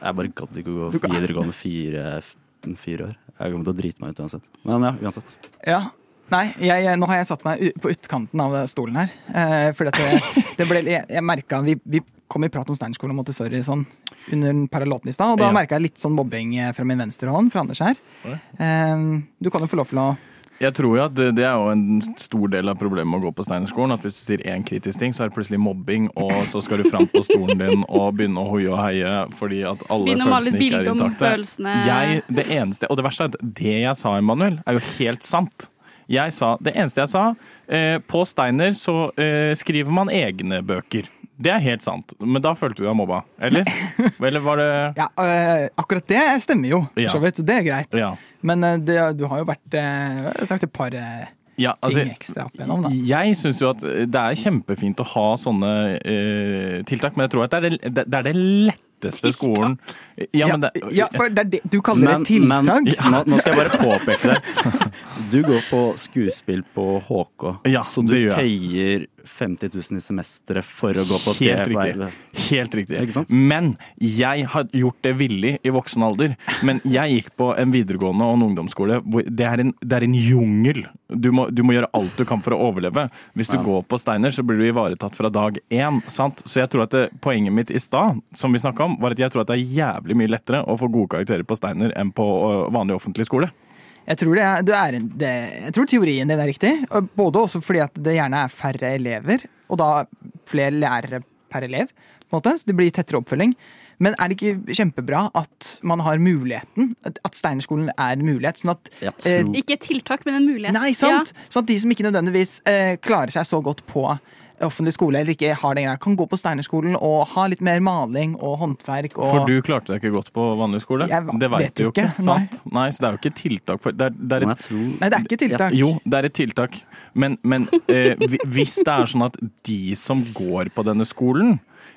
Jeg bare gadd ikke å gå videregående fire, f- fire år. Jeg kommer til å drite meg ut uansett. Men ja, uansett. Ja. Nei, jeg, nå har jeg satt meg u- på utkanten av stolen her. Eh, fordi at det, det ble, jeg, jeg merket- vi, vi kom i prat om Steinerskolen og Montessori sånn, under den paraloten i stad, og da Ja. merka jeg litt sånn mobbing eh, fra min venstre hånd, fra Anders her. Eh, du kan jo få lov til å Jeg tror jo at det, det er jo en stor del av problemet med å gå på Steinerskolen. At hvis du sier én kritisk ting, så er det plutselig mobbing, og så skal du fram på stolen din og begynne å hoie og heie fordi at alle Begynne å male et følelsene ikke er bilde om intakte. følelsene. Jeg, det eneste, og det verste er at det jeg sa, Emanuel, er jo helt sant. Jeg sa, det eneste jeg sa, eh, på Steiner så eh, skriver man egne bøker. Det er helt sant, men da følte du deg mobba, eller? Eller var det Ja, eh, akkurat det stemmer jo, for Ja. så vidt. så Det er greit. Ja. Men eh, det, du har jo vært eh, sagt et par eh, ja altså, ting ekstra opp igjennom, da. jeg syns jo at eh, det er kjempefint å ha sånne eh, tiltak, men jeg tror at det er det, det, det, er det letteste skolen Ja, men det, ja, for det er det, du kaller det tiltak? Men, nå, nå skal jeg bare påpeke det. Du går på skuespill på HK, Ja, så du det gjør peier 50 000 i semesteret for å gå på et Helt grep. riktig. Helt Ikke riktig. sant? Men jeg har gjort det villig i voksen alder. Men jeg gikk på en videregående og en ungdomsskole hvor det er en, det er en jungel. Du må, du må gjøre alt du kan for å overleve. Hvis du går på Steiner, så blir du ivaretatt fra dag én. Sant? Så jeg tror at det, poenget mitt i stad, som vi snakka om, var at jeg tror at det er jævlig mye lettere å få gode karakterer på Steiner enn på øh, vanlig offentlig skole. Jeg tror, det er, du er en, det, jeg tror teorien din er riktig, og både også fordi at det gjerne er færre elever, og da flere lærere per elev, på en måte, så det blir tettere oppfølging. Men er det ikke kjempebra at man har muligheten, at- at Steinerskolen er en mulighet, sånn at Jeg Eh, tror Ikke et tiltak, men en mulighet. Nei, sant? Sånn at de som ikke nødvendigvis eh, klarer seg så godt på offentlig skole, eller ikke har den greia, kan gå på Steinerskolen og ha litt mer maling og håndverk og For du klarte deg ikke godt på vanlig skole. Jeg va- Det vet veit du jo ikke. ikke, sant? Nei. Så det er jo ikke et tiltak for Det er, det er Men et jeg tror Nei, det er ikke tiltak. Jo, det er et tiltak. Men, men eh, hvi- hvis det er sånn at de som går på denne skolen,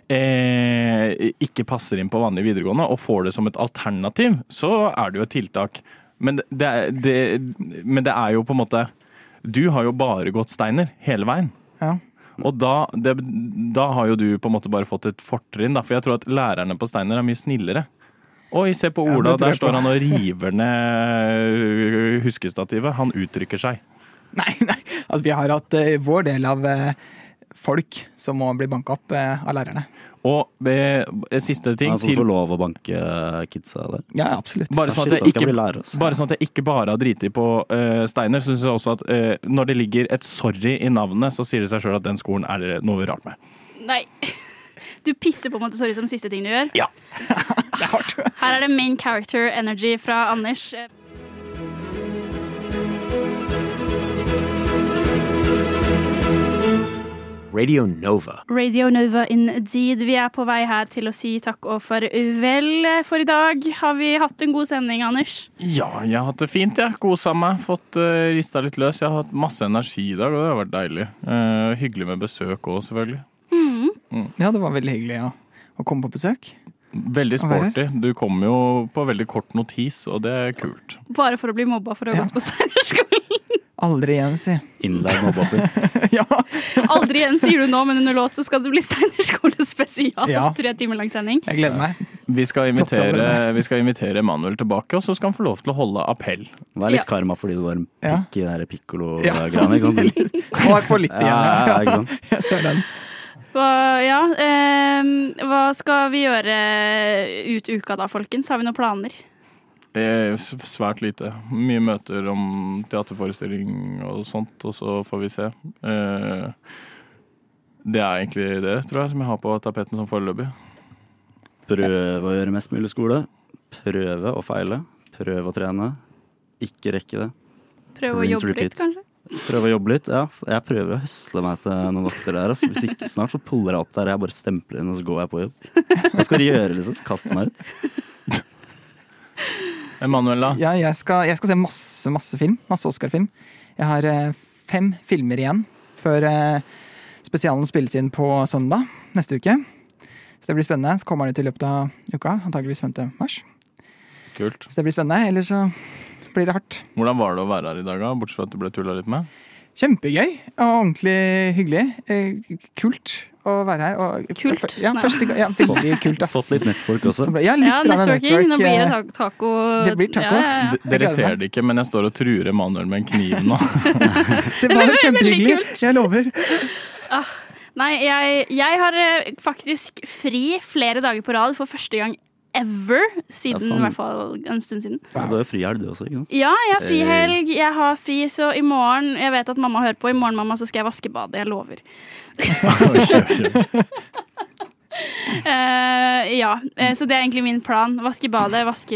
eh, ikke passer inn på vanlig videregående og får det som et alternativ, så er det jo et tiltak. Men det, det, er- det, men det er jo på en måte Du har jo bare gått Steiner hele veien. Ja. Og da, det, da har jo du på en måte bare fått et fortrinn, da, for jeg tror at lærerne på Steiner er mye snillere. Oi, se på Ja, Ola, det tror der jeg på. står han og river ned huskestativet. Han uttrykker seg. Nei, nei. Altså, vi har hatt eh, vår del av eh, folk som må bli banka opp eh, av lærerne. Og eh, siste ting Han som får til lov å banke eh, kidsa der. Ja, absolutt. bare Ah, sånn, shit, at da jeg skal vi ikke, lære oss. bare sånn at jeg ikke bare har driti på eh, Steiner, så syns jeg også at eh, når det ligger et 'sorry' i navnet, så sier det seg sjøl at den skolen er det noe rart med. Nei. Du pisser på Montessori som siste ting du gjør. Ja. Det er hardt. Her er det main character energy fra Anders. Radio Nova. Radio Nova indeed. Vi er på vei her til å si takk og farvel for i dag. Har vi hatt en god sending, Anders? Ja, jeg har hatt det fint, jeg. Kosa meg. Fått uh, rista litt løs. Jeg har hatt masse energi i dag, og det har vært deilig. Eh, hyggelig med besøk òg, selvfølgelig. Ja, det var veldig hyggelig ja. å komme på besøk. Veldig Å være sporty. Du kom jo på veldig kort notis, og det er kult. Bare for å bli mobba for å ha Ja. gått på Steinerskolen. Aldri igjen, si. Innleid mobbeoffer. ja. Aldri igjen, sier du nå, men under låt så skal det bli Steinerskole spesial. Ja. Tre timer lang sending. Jeg gleder meg. Vi skal Flott invitere, arbeid. vi skal invitere Emanuel tilbake, og så skal han få lov til å holde appell. Det er Ja. litt karma fordi det var en Ja. pikk i den Ja. pikkolo-greiene. ikke sant? Må jeg få litt Ja, ja, ja, igjen. ikke Ja, sant? jeg ser den. Hva, ja, ehm, hva skal vi gjøre ut uka da, folkens? Har vi noen planer? Eh, s- Svært lite. Mye møter om teaterforestilling og sånt, og så får vi se. Eh, Det er egentlig det, tror jeg, som jeg har på tapeten som foreløpig. Prøve å gjøre mest mulig skole. Prøve å feile. Prøve å trene. Ikke rekke det. Prøve å Rinse, jobbe litt, repeat. kanskje? Prøve å jobbe litt. Ja, jeg prøver å høsle meg til noen vakter der. Altså. Hvis ikke snart så puller jeg opp der. Jeg bare stempler inn, og så går jeg på jobb. Hva skal de gjøre, liksom? Kaste meg ut? Emanuel, da? Ja, jeg skal, jeg skal se masse, masse film. Masse Oscar-film. Jeg har eh, fem filmer igjen før eh, spesialen spilles inn på søndag neste uke. Så det blir spennende. Så kommer den ut i løpet av uka, antakeligvis 5. mars. Kult. Så det blir spennende. Ellers så blir det hardt. Hvordan var det å være her i dag, da? bortsett fra at du ble tulla litt med? Kjempegøy og ordentlig hyggelig. Eh, kult å være her. Og, Kult? Ja, Nei. første, gang- ja, veldig kult, ass. Fått litt nettfolk også. Det ble- Ja, litt Ja, grann networking. Nå network, blir det eh, ta- taco. det blir taco. Ja, ja, ja. D- Dere Jeg gleder ser meg. det ikke, men jeg står og truer Emanuel med en kniv nå. Det var veldig kjempehyggelig. kult. Jeg lover. Nei, jeg, jeg har eh, faktisk fri flere dager på rad for første gang ever. Siden, Ja, faen. i hvert fall en stund siden. Ja, Du har jo frihelg, du også, ikke sant? Ja, jeg har Hey. frihelg. Jeg har fri, så i morgen Jeg vet at mamma hører på. I morgen, mamma, så skal jeg vaske badet. Jeg lover. Eh, ja, eh, så det er egentlig min plan. Vaske badet, vaske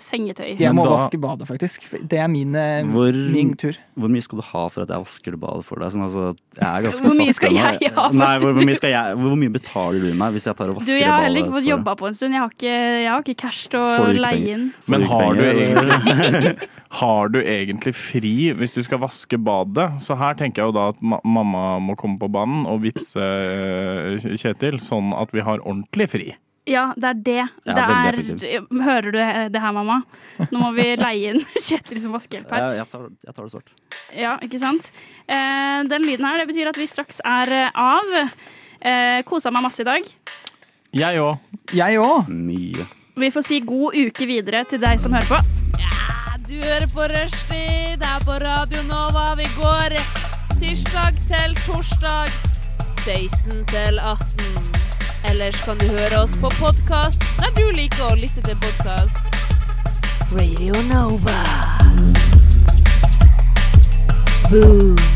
sengetøy. Jeg Men må da- vaske badet, faktisk. Det er min, eh, Hvor- min tur. Hvor mye skal du ha for at jeg vasker det badet for deg? Sånn, altså, jeg er ganske Hvor mye fattig skal nå. jeg ha for Nei, at hvor, du- hvor, mye skal jeg, hvor mye betaler du meg hvis jeg tar og Du, vasker det jeg har heller ikke fått for deg? jobba på en stund. Jeg har ikke, jeg har ikke cash til å Får du ikke penger? leie inn. Får Men ikke har du, penger, eller? egentlig, har du egentlig fri hvis du skal vaske badet? Så her tenker jeg jo da at ma mamma må komme på banen og vippse eh, Kjetil, sånn at vi har ordentlig fri. Ja, det er det. Ja, det veldig er, hører du det her, mamma? Nå må vi leie inn Kjetil som vaskehjelp her. Jeg, jeg, tar, jeg tar det svart. Ja, ikke sant? Eh, den lyden her, det betyr at vi straks er eh, av. Eh, kosa meg masse i dag. Jeg òg. Jeg òg. Mye. Vi får si god uke videre til deg som hører på. Du hører på Rushtid, det er på Radio Nova. Vi går tirsdag til torsdag 16 til 18. Ellers kan du høre oss på podkast der du liker å lytte til podkast. Radio Nova. Boom.